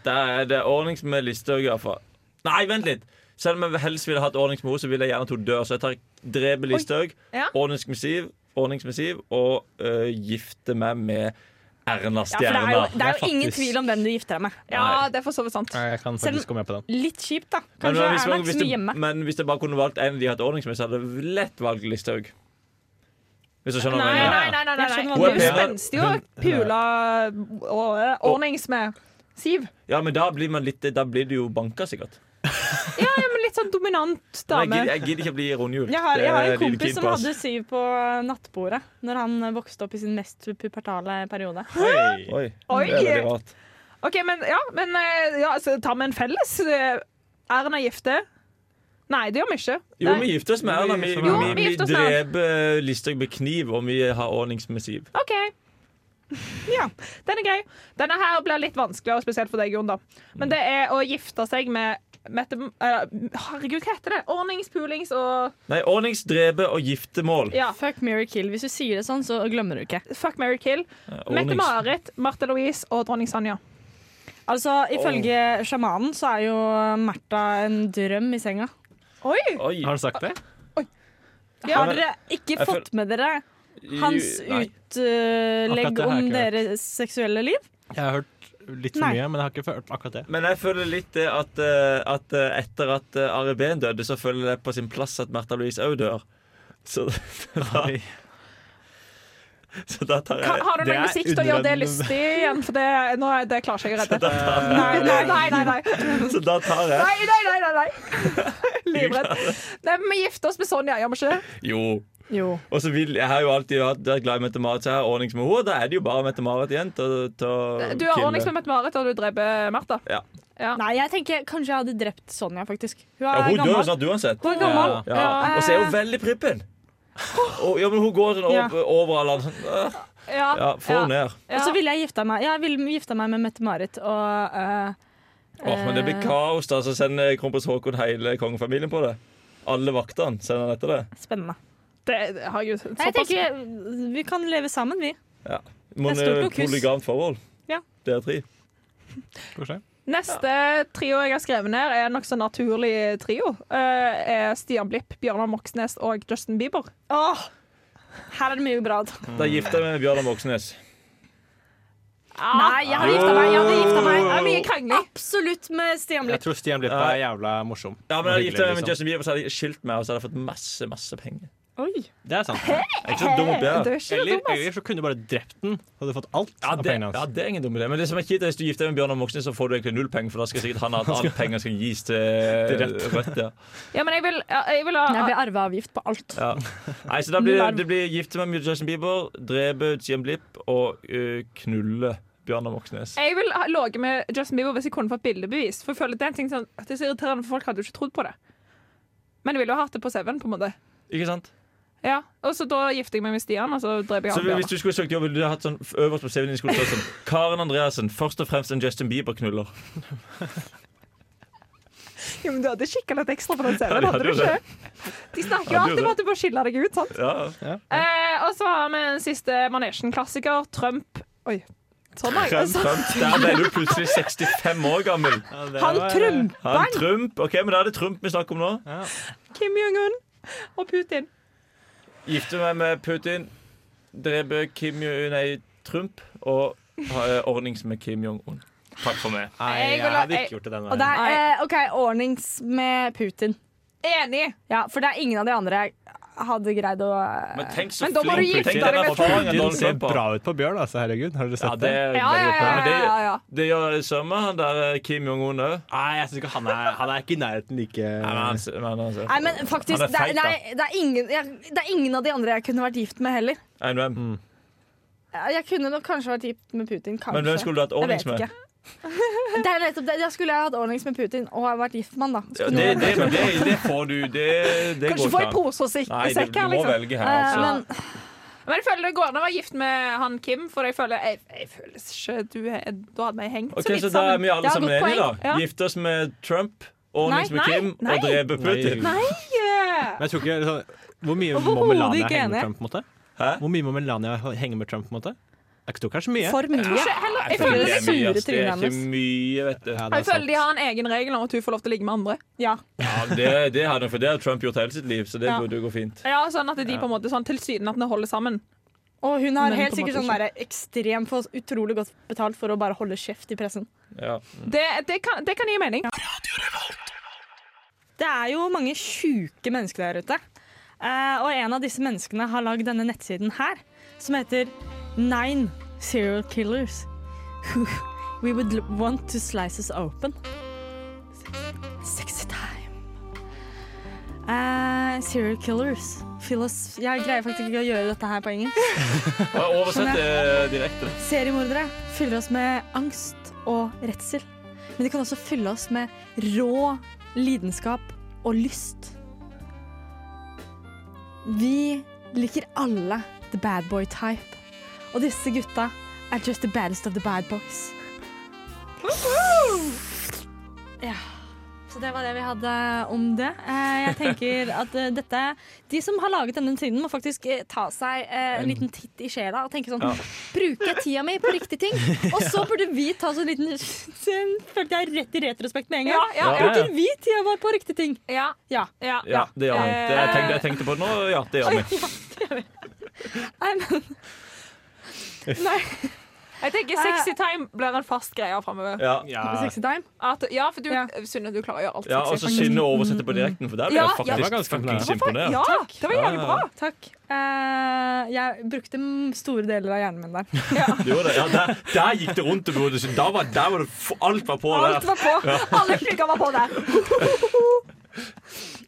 [SPEAKER 2] Der er det ordnings med Listhaug, iallfall. Nei, vent litt. Selv om jeg helst ville hatt ordnings med henne, så ville jeg gjerne at hun dør. Så jeg tar drepe Listhaug,
[SPEAKER 4] Ja.
[SPEAKER 2] ordnings med Siv, ordnings med Siv og øh, gifte meg med
[SPEAKER 6] Ja, for
[SPEAKER 2] Erna
[SPEAKER 6] det
[SPEAKER 2] Stjerna.
[SPEAKER 6] er jo, det er jo ingen tvil om hvem du gifter deg med.
[SPEAKER 2] Ja,
[SPEAKER 4] det er for så vidt sant.
[SPEAKER 7] Nei, jeg kan
[SPEAKER 6] Selv-
[SPEAKER 7] faktisk gå med på den.
[SPEAKER 6] Litt kjipt, da.
[SPEAKER 2] Men,
[SPEAKER 6] Kanskje
[SPEAKER 2] men, hvis,
[SPEAKER 6] Erna
[SPEAKER 2] man,
[SPEAKER 6] ikke
[SPEAKER 2] hvis
[SPEAKER 6] så mye
[SPEAKER 2] det,
[SPEAKER 6] hjemme.
[SPEAKER 2] men hvis jeg bare kunne valgt en de har hatt ordnings med, så hadde jeg lett valgt Listhaug. Hvis du skjønner hva
[SPEAKER 4] Nei,
[SPEAKER 2] jeg
[SPEAKER 4] nei,
[SPEAKER 2] mener.
[SPEAKER 4] nei. nei, nei,
[SPEAKER 2] skjønner
[SPEAKER 4] nei.
[SPEAKER 2] hva
[SPEAKER 4] Hun
[SPEAKER 2] du mener.
[SPEAKER 4] spenstig jo
[SPEAKER 2] Hun-
[SPEAKER 4] pula og eh, ordnings med Siv.
[SPEAKER 2] Ja, men da blir, man litt, da blir du jo banka, sikkert.
[SPEAKER 4] Ja, ja, men litt sånn dominant
[SPEAKER 2] Men
[SPEAKER 4] dame.
[SPEAKER 2] jeg gidder, jeg gidder ikke bli rundhjul.
[SPEAKER 6] Jeg har,
[SPEAKER 2] Det
[SPEAKER 6] jeg har
[SPEAKER 2] er
[SPEAKER 6] en
[SPEAKER 2] Line
[SPEAKER 6] kompis
[SPEAKER 2] Keen
[SPEAKER 6] som
[SPEAKER 2] på, ass.
[SPEAKER 6] hadde syv på nattbordet når han vokste opp i sin mest pubertale periode.
[SPEAKER 2] Oi.
[SPEAKER 4] Oi.
[SPEAKER 2] Det er veldig rart.
[SPEAKER 4] OK, men ja, men eh, ja, så tar vi en felles. Eh, Erna gifte? Nei, det gjør vi ikke.
[SPEAKER 2] Jo,
[SPEAKER 4] Nei.
[SPEAKER 2] vi gifter oss med Erna. Vi,
[SPEAKER 4] Jo,
[SPEAKER 2] vi,
[SPEAKER 4] vi
[SPEAKER 2] vi,
[SPEAKER 4] gifter oss med Erna.
[SPEAKER 2] dreper Listhaug med kniv, og vi har ordnings med Siv.
[SPEAKER 4] OK. [LAUGHS] Ja, den er grei. Denne her blir litt vanskeligere, spesielt for deg, Jon. da. Men det er å gifte seg med Mette... eh, herregud, hva heter det? Ordnings, pulings og
[SPEAKER 2] Nei, ordnings, drepe og giftemål.
[SPEAKER 4] ja.
[SPEAKER 6] Fuck, marry, kill. Hvis du sier det sånn, så glemmer du ikke.
[SPEAKER 4] Fuck, marry, kill.
[SPEAKER 2] ordnings.
[SPEAKER 4] Mette-Marit, Marte Louise og dronning Sanja.
[SPEAKER 6] Altså, Ifølge sjamanen så er jo Märtha en drøm i senga.
[SPEAKER 4] Oi!
[SPEAKER 7] Har han sagt det?
[SPEAKER 6] Har dere ikke
[SPEAKER 7] Jeg føl-
[SPEAKER 6] fått med dere hans
[SPEAKER 7] Jo, nei. Akkurat
[SPEAKER 6] utlegg
[SPEAKER 7] det har jeg
[SPEAKER 6] om
[SPEAKER 7] ikke hørt.
[SPEAKER 6] deres seksuelle liv?
[SPEAKER 7] Jeg har hørt litt for
[SPEAKER 6] Nei.
[SPEAKER 7] mye, men jeg har ikke hørt akkurat det.
[SPEAKER 2] Men jeg føler litt det at, eh, at eh, etter at eh, Ari Behn døde, så føler jeg på sin plass at Märtha Louise òg dør. Så [LAUGHS] da, så da tar
[SPEAKER 4] Ka-
[SPEAKER 2] jeg
[SPEAKER 4] Har du noe musikk til å gjøre det lystig igjen? For det, nå, er- det klarer ikke jeg å
[SPEAKER 2] [LAUGHS]
[SPEAKER 4] redde. Nei, nei, nei. nei, nei.
[SPEAKER 2] Så da tar jeg
[SPEAKER 4] Nei, nei, nei, [LAUGHS] nei, nei. Livredd. Nei, men Vi gifter oss med Sonja, gjør vi ikke det?
[SPEAKER 2] Jo.
[SPEAKER 6] Jo.
[SPEAKER 2] Og så vil, Jeg har jo alltid vært vært glad i Mette-Marit, så jeg har ordnings med henne. og Da er det jo bare Mette-Marit igjen til å- til å
[SPEAKER 4] Du har
[SPEAKER 2] kille.
[SPEAKER 4] ordnings med Mette-Marit, og du dreper Martha.
[SPEAKER 2] Ja.
[SPEAKER 6] Nei, jeg tenker kanskje jeg hadde drept Sonja, faktisk. Hun
[SPEAKER 2] Ja,
[SPEAKER 6] er
[SPEAKER 2] hun dør jo
[SPEAKER 6] gammel.
[SPEAKER 2] snart uansett.
[SPEAKER 6] Hun er gammel.
[SPEAKER 2] Ja. Og så er hun veldig prippen. Og, ja, men hun går sånn
[SPEAKER 6] Ja.
[SPEAKER 2] over, over alle andre. sånn, øh. Ja,
[SPEAKER 4] Ah.
[SPEAKER 2] få henne ned.
[SPEAKER 6] Og så ville jeg gifta meg Jeg ville gifta meg med Mette-Marit og eh,
[SPEAKER 2] Åh, men det blir
[SPEAKER 6] eh,
[SPEAKER 2] kaos, da. Så sender kronprins Haakon hele kongefamilien på det. Alle vaktene sender han etter det.
[SPEAKER 6] Spennende.
[SPEAKER 4] Det, herregud,
[SPEAKER 6] Nei, jeg
[SPEAKER 4] såpass.
[SPEAKER 6] tenker Vi kan leve sammen, vi.
[SPEAKER 2] Ja.
[SPEAKER 6] Det er stort
[SPEAKER 2] Mon-
[SPEAKER 6] lokus.
[SPEAKER 2] Polygamt forhold.
[SPEAKER 6] Ja.
[SPEAKER 2] Dere tre.
[SPEAKER 4] Neste trio jeg har skrevet ned, er en nokså naturlig trio. Eh, er Stian Blipp, Bjørnar Moxnes og Justin Bieber.
[SPEAKER 6] Åh, her er det mye bra.
[SPEAKER 2] Da gifter jeg meg med Bjørnar Moxnes.
[SPEAKER 6] Nei, jeg hadde gifta meg. Jeg hadde gifta meg.
[SPEAKER 4] Det er mye krangling.
[SPEAKER 6] Absolutt med Stian
[SPEAKER 7] Jeg
[SPEAKER 6] Blipp.
[SPEAKER 7] tror Stian Blipp er jævla morsom.
[SPEAKER 2] Ja, men
[SPEAKER 7] Og
[SPEAKER 2] jeg hadde gifta
[SPEAKER 7] hyggelig,
[SPEAKER 2] meg med
[SPEAKER 7] liksom.
[SPEAKER 2] Justin Bieber, så hadde jeg skilt meg, og så hadde jeg fått masse, masse penger.
[SPEAKER 6] Ah, Oi.
[SPEAKER 7] Det er sant.
[SPEAKER 2] Jeg er ikke så dum oppi [LAUGHS] her.
[SPEAKER 4] Du er ikke
[SPEAKER 7] Eller,
[SPEAKER 4] dum, ass.
[SPEAKER 7] eller så kunne du bare drept den, og hadde fått alt
[SPEAKER 2] Ja
[SPEAKER 7] av
[SPEAKER 2] det,
[SPEAKER 7] pengene
[SPEAKER 2] ja,
[SPEAKER 7] hans.
[SPEAKER 2] det er ingen dum idé. Men det som er kjipt er hvis du gifter deg med Bjørnar Moxnes, så får du egentlig null penger, for da skal sikkert [LAUGHS] han ha at alle penger skal gis til
[SPEAKER 7] Til
[SPEAKER 2] [LAUGHS]
[SPEAKER 7] Rødt.
[SPEAKER 2] Rødt. Ja.
[SPEAKER 4] Ja, men jeg vil, ja, jeg vil
[SPEAKER 6] Jeg
[SPEAKER 4] ha
[SPEAKER 6] blir arveavgift på alt.
[SPEAKER 2] Ja. Nei, så da blir det, det blir gifte meg med Justin Bieber, drepe Jim Blipp og øh, knulle Bjørnar
[SPEAKER 6] Eh.
[SPEAKER 2] Moxnes.
[SPEAKER 4] jeg vil ha ligget med Justin Bieber hvis jeg kunne fått bildebevis. For jeg føler Det er en ting sånn, at det er så irriterende, for folk hadde jo ikke trodd på det. Men jeg ville jo hatt det på CV-en. på en måte
[SPEAKER 2] Ikke sant?
[SPEAKER 4] Ja, Og så da gifter jeg meg med Stian, og så dreper jeg
[SPEAKER 2] Så
[SPEAKER 4] han
[SPEAKER 2] hvis
[SPEAKER 4] Bjørnar.
[SPEAKER 2] du skulle søkt jobb, ville du hatt sånn øverst på CV-en din skulle stått sånn Karen Andreassen, først og fremst en Justin Bieber-knuller.
[SPEAKER 4] Ja, men du hadde kikka litt ekstra på den
[SPEAKER 2] Ja,
[SPEAKER 4] CV-en,
[SPEAKER 2] de
[SPEAKER 4] hadde
[SPEAKER 2] hadde
[SPEAKER 4] du
[SPEAKER 2] jo
[SPEAKER 4] ikke? De snakker
[SPEAKER 2] Hadde
[SPEAKER 4] jo
[SPEAKER 2] jo
[SPEAKER 4] alltid om at du må skille deg ut, sant?
[SPEAKER 2] Ja.
[SPEAKER 4] Eh, og så har vi en siste manesjen-klassiker. Trump. Oi. Sånn, nei.
[SPEAKER 2] Trump,
[SPEAKER 4] Altså, [LAUGHS]
[SPEAKER 2] Trump. Der ble du plutselig 65 år gammel.
[SPEAKER 4] han Trump,
[SPEAKER 2] Han Trump. Ok, men da er det Trump vi snakker om nå.
[SPEAKER 4] Kim Jong-un og Putin.
[SPEAKER 2] Gifte meg med Putin, drepe Kim Jo- Nei, Trump og ha eh, ordnings med Kim Jong-un. Takk for meg.
[SPEAKER 7] Nei,
[SPEAKER 4] Jeg
[SPEAKER 7] jeg
[SPEAKER 4] vil ha-
[SPEAKER 7] hadde
[SPEAKER 4] jeg-
[SPEAKER 7] ikke gjort det den
[SPEAKER 6] Og det
[SPEAKER 7] veien.
[SPEAKER 6] er eh, OK, ordnings med Putin.
[SPEAKER 4] Enig.
[SPEAKER 6] Ja, for det er ingen av de andre jeg hadde greid å eh,
[SPEAKER 2] Men tenk så
[SPEAKER 4] Men da må du
[SPEAKER 2] flink
[SPEAKER 4] gifte
[SPEAKER 2] Putin er.
[SPEAKER 4] deg med
[SPEAKER 2] Den erfaringen
[SPEAKER 7] Putin
[SPEAKER 2] Donald
[SPEAKER 7] ser
[SPEAKER 2] Trump har.
[SPEAKER 7] bra ut på bjørn, altså. Herregud, har dere
[SPEAKER 2] Ja, det
[SPEAKER 7] sett det?
[SPEAKER 2] er
[SPEAKER 4] Ja, ja,
[SPEAKER 2] veldig
[SPEAKER 4] ja.
[SPEAKER 2] oppnå. Men
[SPEAKER 4] ja, ja, ja.
[SPEAKER 2] Det, det gjør det samme, han der eh, Kim Jong-un òg.
[SPEAKER 7] Nei, jeg synes ikke han er, han er ikke i nærheten like
[SPEAKER 2] Eh,
[SPEAKER 6] Nei, men faktisk,
[SPEAKER 2] Han er
[SPEAKER 6] det er,
[SPEAKER 2] feit, da.
[SPEAKER 6] nei, det, er ingen, jeg, det er ingen av de andre jeg kunne vært gift med heller.
[SPEAKER 2] Enn hvem?
[SPEAKER 6] Ja, Jeg kunne nok kanskje vært gift med Putin. Kanskje.
[SPEAKER 2] Men hvem skulle du hatt
[SPEAKER 6] Jeg
[SPEAKER 2] ordnings
[SPEAKER 6] vet
[SPEAKER 2] med?
[SPEAKER 6] ikke. [LAUGHS] Det er nettopp det. Da skulle jeg hatt ordnings med Putin og vært gift med han, da.
[SPEAKER 2] Ja, det, det, men det, det får du. Det, det
[SPEAKER 4] Kanskje
[SPEAKER 2] går
[SPEAKER 4] få
[SPEAKER 2] ikke
[SPEAKER 4] ei
[SPEAKER 2] an.
[SPEAKER 4] pose og
[SPEAKER 2] Nei,
[SPEAKER 4] sekk
[SPEAKER 2] det, du
[SPEAKER 4] her,
[SPEAKER 2] må
[SPEAKER 4] liksom.
[SPEAKER 2] velge her,
[SPEAKER 6] Eh,
[SPEAKER 2] altså.
[SPEAKER 6] men
[SPEAKER 4] Men jeg føler det går an å være gift med han Kim, for jeg føler Jeg, jeg føler ikke du er Da hadde vi hengt
[SPEAKER 2] Ok,
[SPEAKER 4] så litt
[SPEAKER 2] Så da er vi
[SPEAKER 4] Det
[SPEAKER 2] alle
[SPEAKER 4] er
[SPEAKER 2] sammen
[SPEAKER 4] et godt
[SPEAKER 2] enige, da.
[SPEAKER 4] poeng. Ja.
[SPEAKER 2] Gifte oss med Trump, ordne oss med
[SPEAKER 4] Nei,
[SPEAKER 2] Kim
[SPEAKER 4] nei,
[SPEAKER 2] og drepe Putin.
[SPEAKER 7] Nei.
[SPEAKER 4] Nei!
[SPEAKER 7] Men jeg tror ikke liksom, Hvor mye må
[SPEAKER 4] Overhodet
[SPEAKER 7] Melania
[SPEAKER 4] ikke
[SPEAKER 7] henge
[SPEAKER 4] enig.
[SPEAKER 7] med Trump? på en måte? Hvor mye må Melania henge med Trump? på en måte? Jeg tror kanskje mye.
[SPEAKER 4] For mye. Jeg tror ikke heller- jeg føler det
[SPEAKER 2] er mye,
[SPEAKER 4] sure
[SPEAKER 2] ass. Det
[SPEAKER 4] trynet
[SPEAKER 2] er ikke
[SPEAKER 4] hennes.
[SPEAKER 2] mye, vet du. Ja,
[SPEAKER 4] Jeg føler de har en egen regel om at hun får lov til å ligge med andre. Ja,
[SPEAKER 2] det, det hadde for det har Trump gjort hele sitt liv, så det
[SPEAKER 4] Ja.
[SPEAKER 2] burde jo gå fint.
[SPEAKER 4] ja Sånn at de
[SPEAKER 2] Ja.
[SPEAKER 4] på en måte sånn tilsynelatende holder sammen.
[SPEAKER 6] Og hun har
[SPEAKER 4] Men
[SPEAKER 6] helt
[SPEAKER 4] på en
[SPEAKER 6] sikkert
[SPEAKER 4] måte
[SPEAKER 6] sånn
[SPEAKER 4] ikke.
[SPEAKER 6] der ekstremt for utrolig godt betalt for å bare holde kjeft i pressen.
[SPEAKER 2] Ja.
[SPEAKER 4] Det, det, kan, det kan gi mening.
[SPEAKER 6] Det er jo mange sjuke mennesker der ute. Eh, og en av disse menneskene har lagd denne nettsiden her, som heter Nine Serial Killers. [LAUGHS] We would l- want to slice us open. Sexy time. Eh, serial killers. Fill us Jeg greier faktisk ikke å gjøre dette her på engelsk.
[SPEAKER 2] Oversett
[SPEAKER 4] eh,
[SPEAKER 2] det direkte.
[SPEAKER 6] Seriemordere fyller oss med angst og redsel. Men de kan også fylle oss med rå lidenskap og lyst. Vi liker alle the bad boy type. Og disse gutta er just the baddest of the bad boys. Ja. Så det var det vi hadde om det. Eh, jeg tenker at eh, dette De som har laget denne tiden, må faktisk eh, ta seg eh, en liten titt i sjela og tenke sånn
[SPEAKER 2] Ja.
[SPEAKER 6] Bruker jeg tida mi på riktig
[SPEAKER 2] [LAUGHS]
[SPEAKER 6] ting? Og så burde vi ta sånn liten [LAUGHS] Sen følte jeg rett i retrospekt med en gang.
[SPEAKER 2] Ja, ja, ja.
[SPEAKER 6] Bruker vi tida vår på riktig ting?
[SPEAKER 4] Ja.
[SPEAKER 2] Ja, det gjør vi. Det
[SPEAKER 4] Eh,
[SPEAKER 2] jeg tenkte, jeg tenkte på det nå. Ja, det gjør vi.
[SPEAKER 6] Nei, men Nei.
[SPEAKER 4] Jeg tenker sexy
[SPEAKER 6] Eh.
[SPEAKER 4] time blir en fast greie framover.
[SPEAKER 2] Ja. Ja. Sexy
[SPEAKER 4] At, ja, for du, Synne, du klarer å gjøre alt
[SPEAKER 2] Ja, og så
[SPEAKER 4] sexy.
[SPEAKER 2] Synne oversette på direkten, for der ble
[SPEAKER 4] Ja,
[SPEAKER 2] jeg
[SPEAKER 4] ja. Det
[SPEAKER 2] faktisk
[SPEAKER 4] var
[SPEAKER 2] fuckings
[SPEAKER 4] Ja,
[SPEAKER 2] imponert.
[SPEAKER 4] det var jævlig bra.
[SPEAKER 6] Takk. Eh, jeg brukte m- store deler av hjernen min der.
[SPEAKER 2] Du gjorde det. Ja, der, der gikk det rundt. og burde ikke- Der var, der var det f- Alt var på der.
[SPEAKER 6] Alt var på.
[SPEAKER 2] Ja.
[SPEAKER 6] Alle klikka var på der.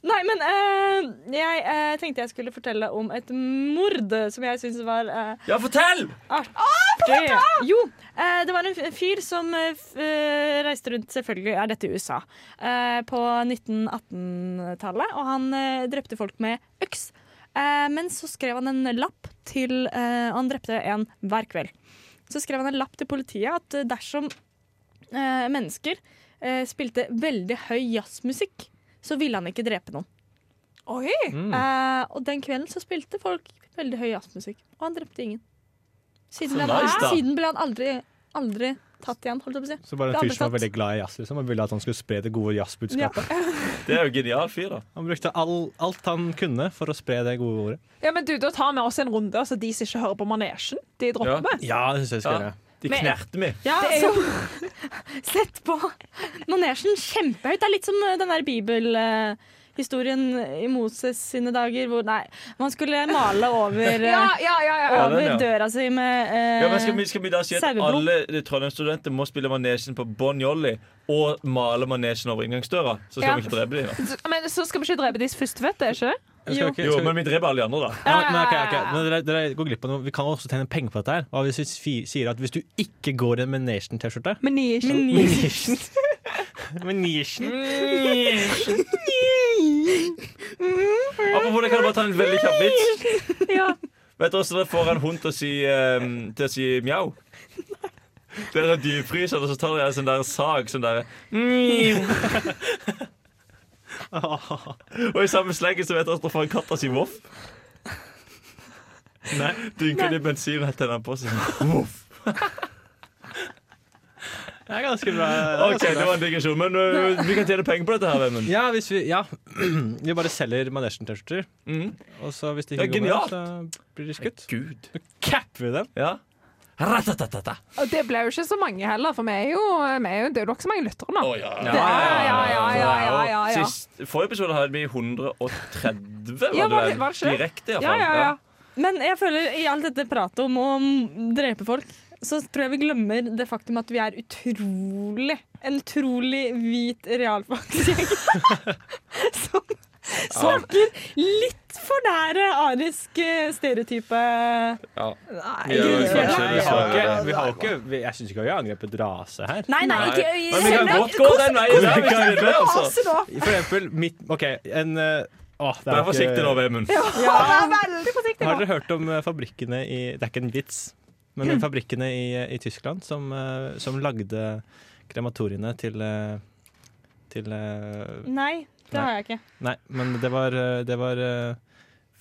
[SPEAKER 6] Nei, men eh, jeg eh, tenkte jeg skulle fortelle om et mord som jeg syns var eh,
[SPEAKER 2] Ja, fortell!
[SPEAKER 6] Artig. Jo, eh, det var en f- fyr som eh, f- eh, reiste rundt, selvfølgelig er dette i USA, eh, på 1918-tallet. Og han eh, drepte folk med øks. Eh, Men så skrev han en lapp til eh, Han drepte en hver kveld. Så skrev han en lapp til politiet at eh, dersom eh, mennesker eh, spilte veldig høy jazzmusikk, så ville han ikke drepe noen.
[SPEAKER 4] Oi!
[SPEAKER 6] Mm. Eh, og den kvelden så spilte folk veldig høy jazzmusikk, og han drepte ingen. Siden,
[SPEAKER 7] Så
[SPEAKER 6] ble, han,
[SPEAKER 7] nice, da.
[SPEAKER 6] siden ble han aldri, aldri tatt igjen, holdt jeg på å si.
[SPEAKER 7] Så bare
[SPEAKER 6] Ble
[SPEAKER 7] en
[SPEAKER 6] aldri
[SPEAKER 7] fyr som var
[SPEAKER 6] tatt.
[SPEAKER 7] veldig glad i jazz. Liksom, og ville at han skulle spre det gode jazzbudskapet.
[SPEAKER 2] Det er jo genial fyr,
[SPEAKER 6] Eh,
[SPEAKER 2] da.
[SPEAKER 7] Han brukte all, alt han kunne for å spre det gode ordet.
[SPEAKER 4] Ja, men du, Da tar vi oss en runde, så de som ikke hører på manesjen, de dropper vi.
[SPEAKER 7] Ja, det syns jeg vi skal gjøre.
[SPEAKER 2] De
[SPEAKER 4] Men-
[SPEAKER 2] knerte meg.
[SPEAKER 6] Ja,
[SPEAKER 4] Det er
[SPEAKER 6] så, sett på manesjen kjempehøyt. Det er litt som eh, den der bibelhistorien i Moses sine dager hvor Nei, man skulle male
[SPEAKER 2] [LAUGHS]
[SPEAKER 6] over, eh,
[SPEAKER 4] Ja, ja, ja, ja.
[SPEAKER 2] Ja,
[SPEAKER 6] over
[SPEAKER 2] den, ja.
[SPEAKER 6] døra si med eh,
[SPEAKER 2] Ja, men skal, vi, skal vi da si at
[SPEAKER 6] saueblod.
[SPEAKER 2] alle de Trondheim-studenter må spille manesjen på Bon Jolly og male manesjen over inngangsdøra? Så skal
[SPEAKER 4] Ja.
[SPEAKER 2] vi ikke drepe dem. da.
[SPEAKER 4] Men så skal vi ikke drepe de første, vet du? ikke det?
[SPEAKER 2] Jo. jo, men vi dreper alle de andre, da.
[SPEAKER 7] Ja, men, men, ok, ok. men dere, dere går glipp av noe. Vi kan også tjene penger på dette. her Hva hvis vi fi- sier at hvis du ikke går i en Menation-T-skjorte
[SPEAKER 4] Manesjen.
[SPEAKER 7] [LAUGHS] Manesjen. Manesjen.
[SPEAKER 2] Apropos det, kan jeg bare ta en veldig kjapp vits? [LAUGHS]
[SPEAKER 6] Ja.
[SPEAKER 2] Vet dere hvordan dere får en hund til å si, ehm, til å si mjau? Dere dypfryser, og så tar dere en sånn der sag som dere [LAUGHS] Og i samme slengen så vet dere at dere får en katt til å si voff. Nei, Dynker de bensin og heller den på seg. Voff.
[SPEAKER 7] Det er ganske bra.
[SPEAKER 2] OK, det var en digresjon, men øh, vi kan tjene penger på dette her, Vemund.
[SPEAKER 7] Ja, hvis vi, ja. [CLEARS THROAT] vi bare selger Manesjen-T-skjorter. Og så hvis Mm. det
[SPEAKER 2] Det er
[SPEAKER 7] ikke går med,
[SPEAKER 2] genialt.
[SPEAKER 7] så blir de skutt.
[SPEAKER 2] Gud.
[SPEAKER 7] Nå capper vi dem.
[SPEAKER 2] Ja. Ratatatata.
[SPEAKER 4] Og det ble jo ikke så mange heller, for vi er jo, vi er jo, det er jo nokså mange lyttere nå.
[SPEAKER 2] Ja,
[SPEAKER 4] Det er- ja, ja, ja, ja, ja, ja.
[SPEAKER 2] Sist, forrige episode hadde vi 130, var
[SPEAKER 6] Ja,
[SPEAKER 2] det
[SPEAKER 6] var det-
[SPEAKER 2] vel?
[SPEAKER 6] var det ikke det?
[SPEAKER 2] Direkte,
[SPEAKER 6] Ja,
[SPEAKER 2] iallfall.
[SPEAKER 6] ja, ja. Men jeg føler i alt dette pratet om å mm, drepe folk, så tror jeg vi glemmer det faktum at vi er utrolig En utrolig hvit realfagsgjeng [LAUGHS] som snakker litt for nære arisk eh, stereotype
[SPEAKER 2] Ja.
[SPEAKER 6] Nei,
[SPEAKER 7] Vi
[SPEAKER 6] gud,
[SPEAKER 7] har jo
[SPEAKER 6] jeg-
[SPEAKER 7] kanskje- vi har ikke, vi har ikke vi, Jeg syns ikke vi har angrepet rase her.
[SPEAKER 6] Nei, nei, ikke i-
[SPEAKER 2] Men vi kan godt gå den veien der. hvis dere vil, altså.
[SPEAKER 7] For eksempel mitt, ok, en, eh, Åh, det
[SPEAKER 2] Vær
[SPEAKER 7] ikke-
[SPEAKER 2] forsiktig nå, Vemund.
[SPEAKER 4] Ja,
[SPEAKER 6] [LAUGHS]
[SPEAKER 4] vær veldig forsiktig
[SPEAKER 7] Har
[SPEAKER 4] nå.
[SPEAKER 7] dere hørt om eh, fabrikkene i Det er ikke en vits, men om fabrikkene i, i Tyskland som, eh, som lagde krematoriene til eh, Til eh,
[SPEAKER 6] Nei, det
[SPEAKER 7] Nei.
[SPEAKER 6] har jeg ikke.
[SPEAKER 7] Nei, men det var, eh, det var eh,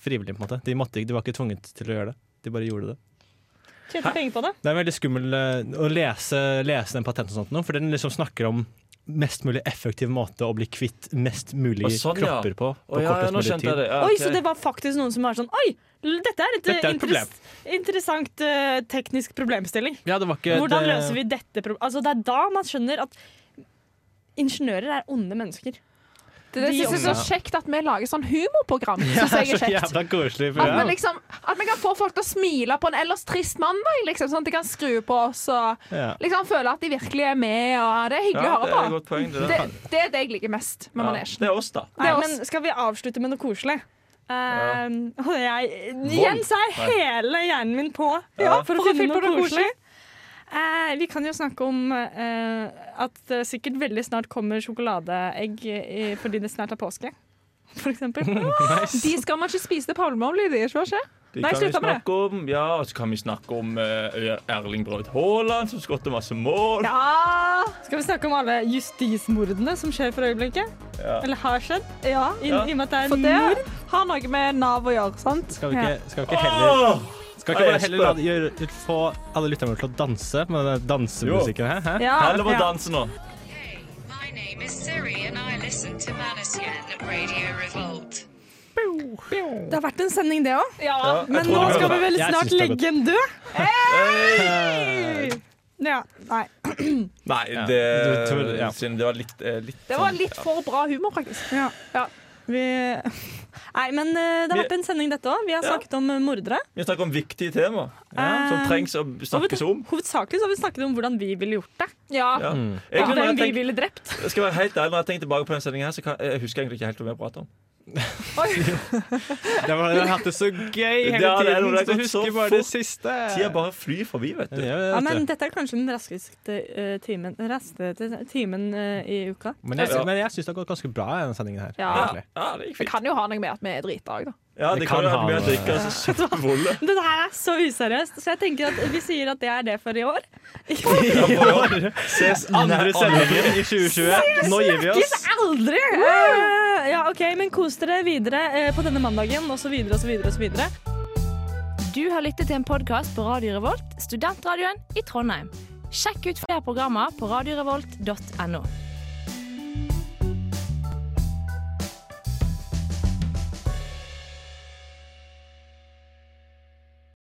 [SPEAKER 7] frivillig, på en måte. De, måtte, ikke- de var ikke tvunget til å gjøre det. De bare gjorde det.
[SPEAKER 6] Tjente penger på det.
[SPEAKER 7] Det er veldig skummel eh, å lese, lese den patenten og sånt nå, for den liksom snakker om mest mulig effektiv måte å bli kvitt mest mulig
[SPEAKER 2] Å, sånn, ja.
[SPEAKER 7] kropper på. på
[SPEAKER 2] Å, ja,
[SPEAKER 7] kortest
[SPEAKER 2] ja, nå
[SPEAKER 7] mulig
[SPEAKER 2] skjønte
[SPEAKER 7] tid.
[SPEAKER 2] jeg det. Ja,
[SPEAKER 6] Oi, så det var faktisk noen som var sånn Oi, l- dette er et
[SPEAKER 7] Dette er et
[SPEAKER 6] eh,
[SPEAKER 7] problem.
[SPEAKER 6] interessant eh, teknisk problemstilling.
[SPEAKER 7] Ja, det var ikke
[SPEAKER 6] Hvordan
[SPEAKER 7] det-
[SPEAKER 6] løser vi dette problemet? Altså, det er da man skjønner at ingeniører er onde mennesker.
[SPEAKER 4] Det, det
[SPEAKER 6] De
[SPEAKER 4] synes jeg er så
[SPEAKER 6] jobber-
[SPEAKER 4] kjekt at vi lager sånn humorprogram.
[SPEAKER 7] Ja,
[SPEAKER 4] Synes jeg
[SPEAKER 7] [LAUGHS]
[SPEAKER 4] er
[SPEAKER 7] så
[SPEAKER 4] kjekt.
[SPEAKER 7] jævla koselig
[SPEAKER 4] At vi,
[SPEAKER 7] program.
[SPEAKER 4] liksom, at vi kan få folk til å smile på en ellers trist mandag, liksom, sånn at de kan skru på oss og
[SPEAKER 7] Ja.
[SPEAKER 4] liksom føle at de virkelig er med. Og det er hyggelig
[SPEAKER 2] Ja,
[SPEAKER 4] å
[SPEAKER 2] det
[SPEAKER 4] høre
[SPEAKER 2] er et
[SPEAKER 4] på.
[SPEAKER 2] godt poeng, det der.
[SPEAKER 4] det, det er det jeg liker mest med
[SPEAKER 2] Ja,
[SPEAKER 4] manesjen.
[SPEAKER 2] Det er oss, da.
[SPEAKER 6] Nei, men skal vi avslutte med noe koselig? Eh, og jeg, igjen så er
[SPEAKER 2] Nei.
[SPEAKER 6] hele hjernen min på
[SPEAKER 2] Ja.
[SPEAKER 6] for å
[SPEAKER 4] Og
[SPEAKER 6] finne
[SPEAKER 4] fyll på
[SPEAKER 6] noe
[SPEAKER 4] noe
[SPEAKER 6] koselig. Eh, vi kan jo snakke om eh, at det sikkert veldig snart kommer sjokoladeegg i, fordi det snart er påske. For eksempel.
[SPEAKER 2] [LAUGHS]
[SPEAKER 4] De skal man ikke spise til palmeolje, de, ikke sant?
[SPEAKER 2] Det
[SPEAKER 4] Nei,
[SPEAKER 2] kan vi
[SPEAKER 4] slutta med det.
[SPEAKER 2] snakke om. Ja, og så kan vi snakke om eh, Erling Braut Haaland, som skåret masse mål.
[SPEAKER 4] Ja!
[SPEAKER 6] Skal vi snakke om alle justismordene som skjer for øyeblikket?
[SPEAKER 2] Ja.
[SPEAKER 6] Eller har skjedd?
[SPEAKER 4] Ja.
[SPEAKER 6] I,
[SPEAKER 2] Ja.
[SPEAKER 6] I og med at det er
[SPEAKER 4] For det
[SPEAKER 6] mord.
[SPEAKER 4] har noe med Nav å gjøre, sant?
[SPEAKER 7] Skal vi
[SPEAKER 6] Ja.
[SPEAKER 7] ikke, skal vi ikke heller
[SPEAKER 2] Åh!
[SPEAKER 7] Skal ikke bare
[SPEAKER 2] Jesper.
[SPEAKER 7] heller la, de gjøre, få alle lytterne våre til å danse med den dansemusikken her? Hæ?
[SPEAKER 4] Ja.
[SPEAKER 2] Heller må danse nå.
[SPEAKER 12] My name is Siri and I listen to Manasian at Radio Revolt.
[SPEAKER 6] Det har vært en sending, det òg.
[SPEAKER 4] Ja.
[SPEAKER 2] Jeg
[SPEAKER 6] Men
[SPEAKER 2] tror
[SPEAKER 6] nå
[SPEAKER 2] det
[SPEAKER 6] skal
[SPEAKER 2] var
[SPEAKER 6] vi vel
[SPEAKER 7] Jeg
[SPEAKER 6] snart
[SPEAKER 7] synes det er godt.
[SPEAKER 6] legge en død.
[SPEAKER 2] Hey!
[SPEAKER 6] Ja, nei.
[SPEAKER 2] Nei,
[SPEAKER 7] Ja.
[SPEAKER 2] det,
[SPEAKER 7] Du tror- ja.
[SPEAKER 2] synd, det var litt, eh, litt
[SPEAKER 4] Det var litt for bra humor, faktisk.
[SPEAKER 6] Ja.
[SPEAKER 4] Ja.
[SPEAKER 6] Vi Nei, men eh, det har vært en sending, dette òg. Vi har
[SPEAKER 2] Ja.
[SPEAKER 6] snakket om eh, mordere.
[SPEAKER 2] Vi snakker om viktige temaer
[SPEAKER 6] Ja.
[SPEAKER 2] som trengs å snakkes om.
[SPEAKER 6] Hovedsakelig så har vi snakket om hvordan vi ville gjort det.
[SPEAKER 4] Ja.
[SPEAKER 2] Ja.
[SPEAKER 7] Mm.
[SPEAKER 2] Egentlig, når
[SPEAKER 6] Hvem
[SPEAKER 2] jeg
[SPEAKER 6] vi
[SPEAKER 2] tenker,
[SPEAKER 6] ville drept.
[SPEAKER 2] skal jeg være helt ærlig, når jeg tenker tilbake på den sendingen her, så kan, jeg husker jeg egentlig ikke helt hva vi pratet om.
[SPEAKER 7] Det var, jeg har hatt det så gøy hele
[SPEAKER 2] Ja, det er noe det
[SPEAKER 7] tiden,
[SPEAKER 2] har
[SPEAKER 7] så
[SPEAKER 2] gått så
[SPEAKER 7] husker bare det
[SPEAKER 2] fort.
[SPEAKER 7] siste.
[SPEAKER 2] Tida bare flyr forbi, vet
[SPEAKER 7] Ja,
[SPEAKER 2] du.
[SPEAKER 7] jeg vet
[SPEAKER 6] Ja, men
[SPEAKER 7] det.
[SPEAKER 6] dette er kanskje den raskeste eh, timen, raskeste timen eh, i uka.
[SPEAKER 7] men jeg,
[SPEAKER 2] Ja.
[SPEAKER 7] men jeg syns det har gått ganske bra i denne sendingen her.
[SPEAKER 4] Ja.
[SPEAKER 7] egentlig.
[SPEAKER 2] Ja, det gikk
[SPEAKER 4] Det
[SPEAKER 2] fint.
[SPEAKER 4] kan jo ha noe med at vi er drita òg, da.
[SPEAKER 2] Ja, det,
[SPEAKER 7] Det
[SPEAKER 2] kan
[SPEAKER 7] kan
[SPEAKER 2] jo være
[SPEAKER 7] ha
[SPEAKER 2] mye å
[SPEAKER 7] noe-
[SPEAKER 2] drikke. Altså, kjempevolle.
[SPEAKER 6] Dette her er så useriøst, så jeg tenker at vi sier at det er det for i år.
[SPEAKER 7] Ses andre sendingen i 2020. Nå gir vi oss.
[SPEAKER 6] Snakkes aldri! Eh, ja, OK, men kos dere videre eh, på denne mandagen, og så videre og så videre og så videre.
[SPEAKER 13] Du har lyttet til en podkast på Radio Revolt, studentradioen i Trondheim. Sjekk ut flere programmer på radiorevolt.no.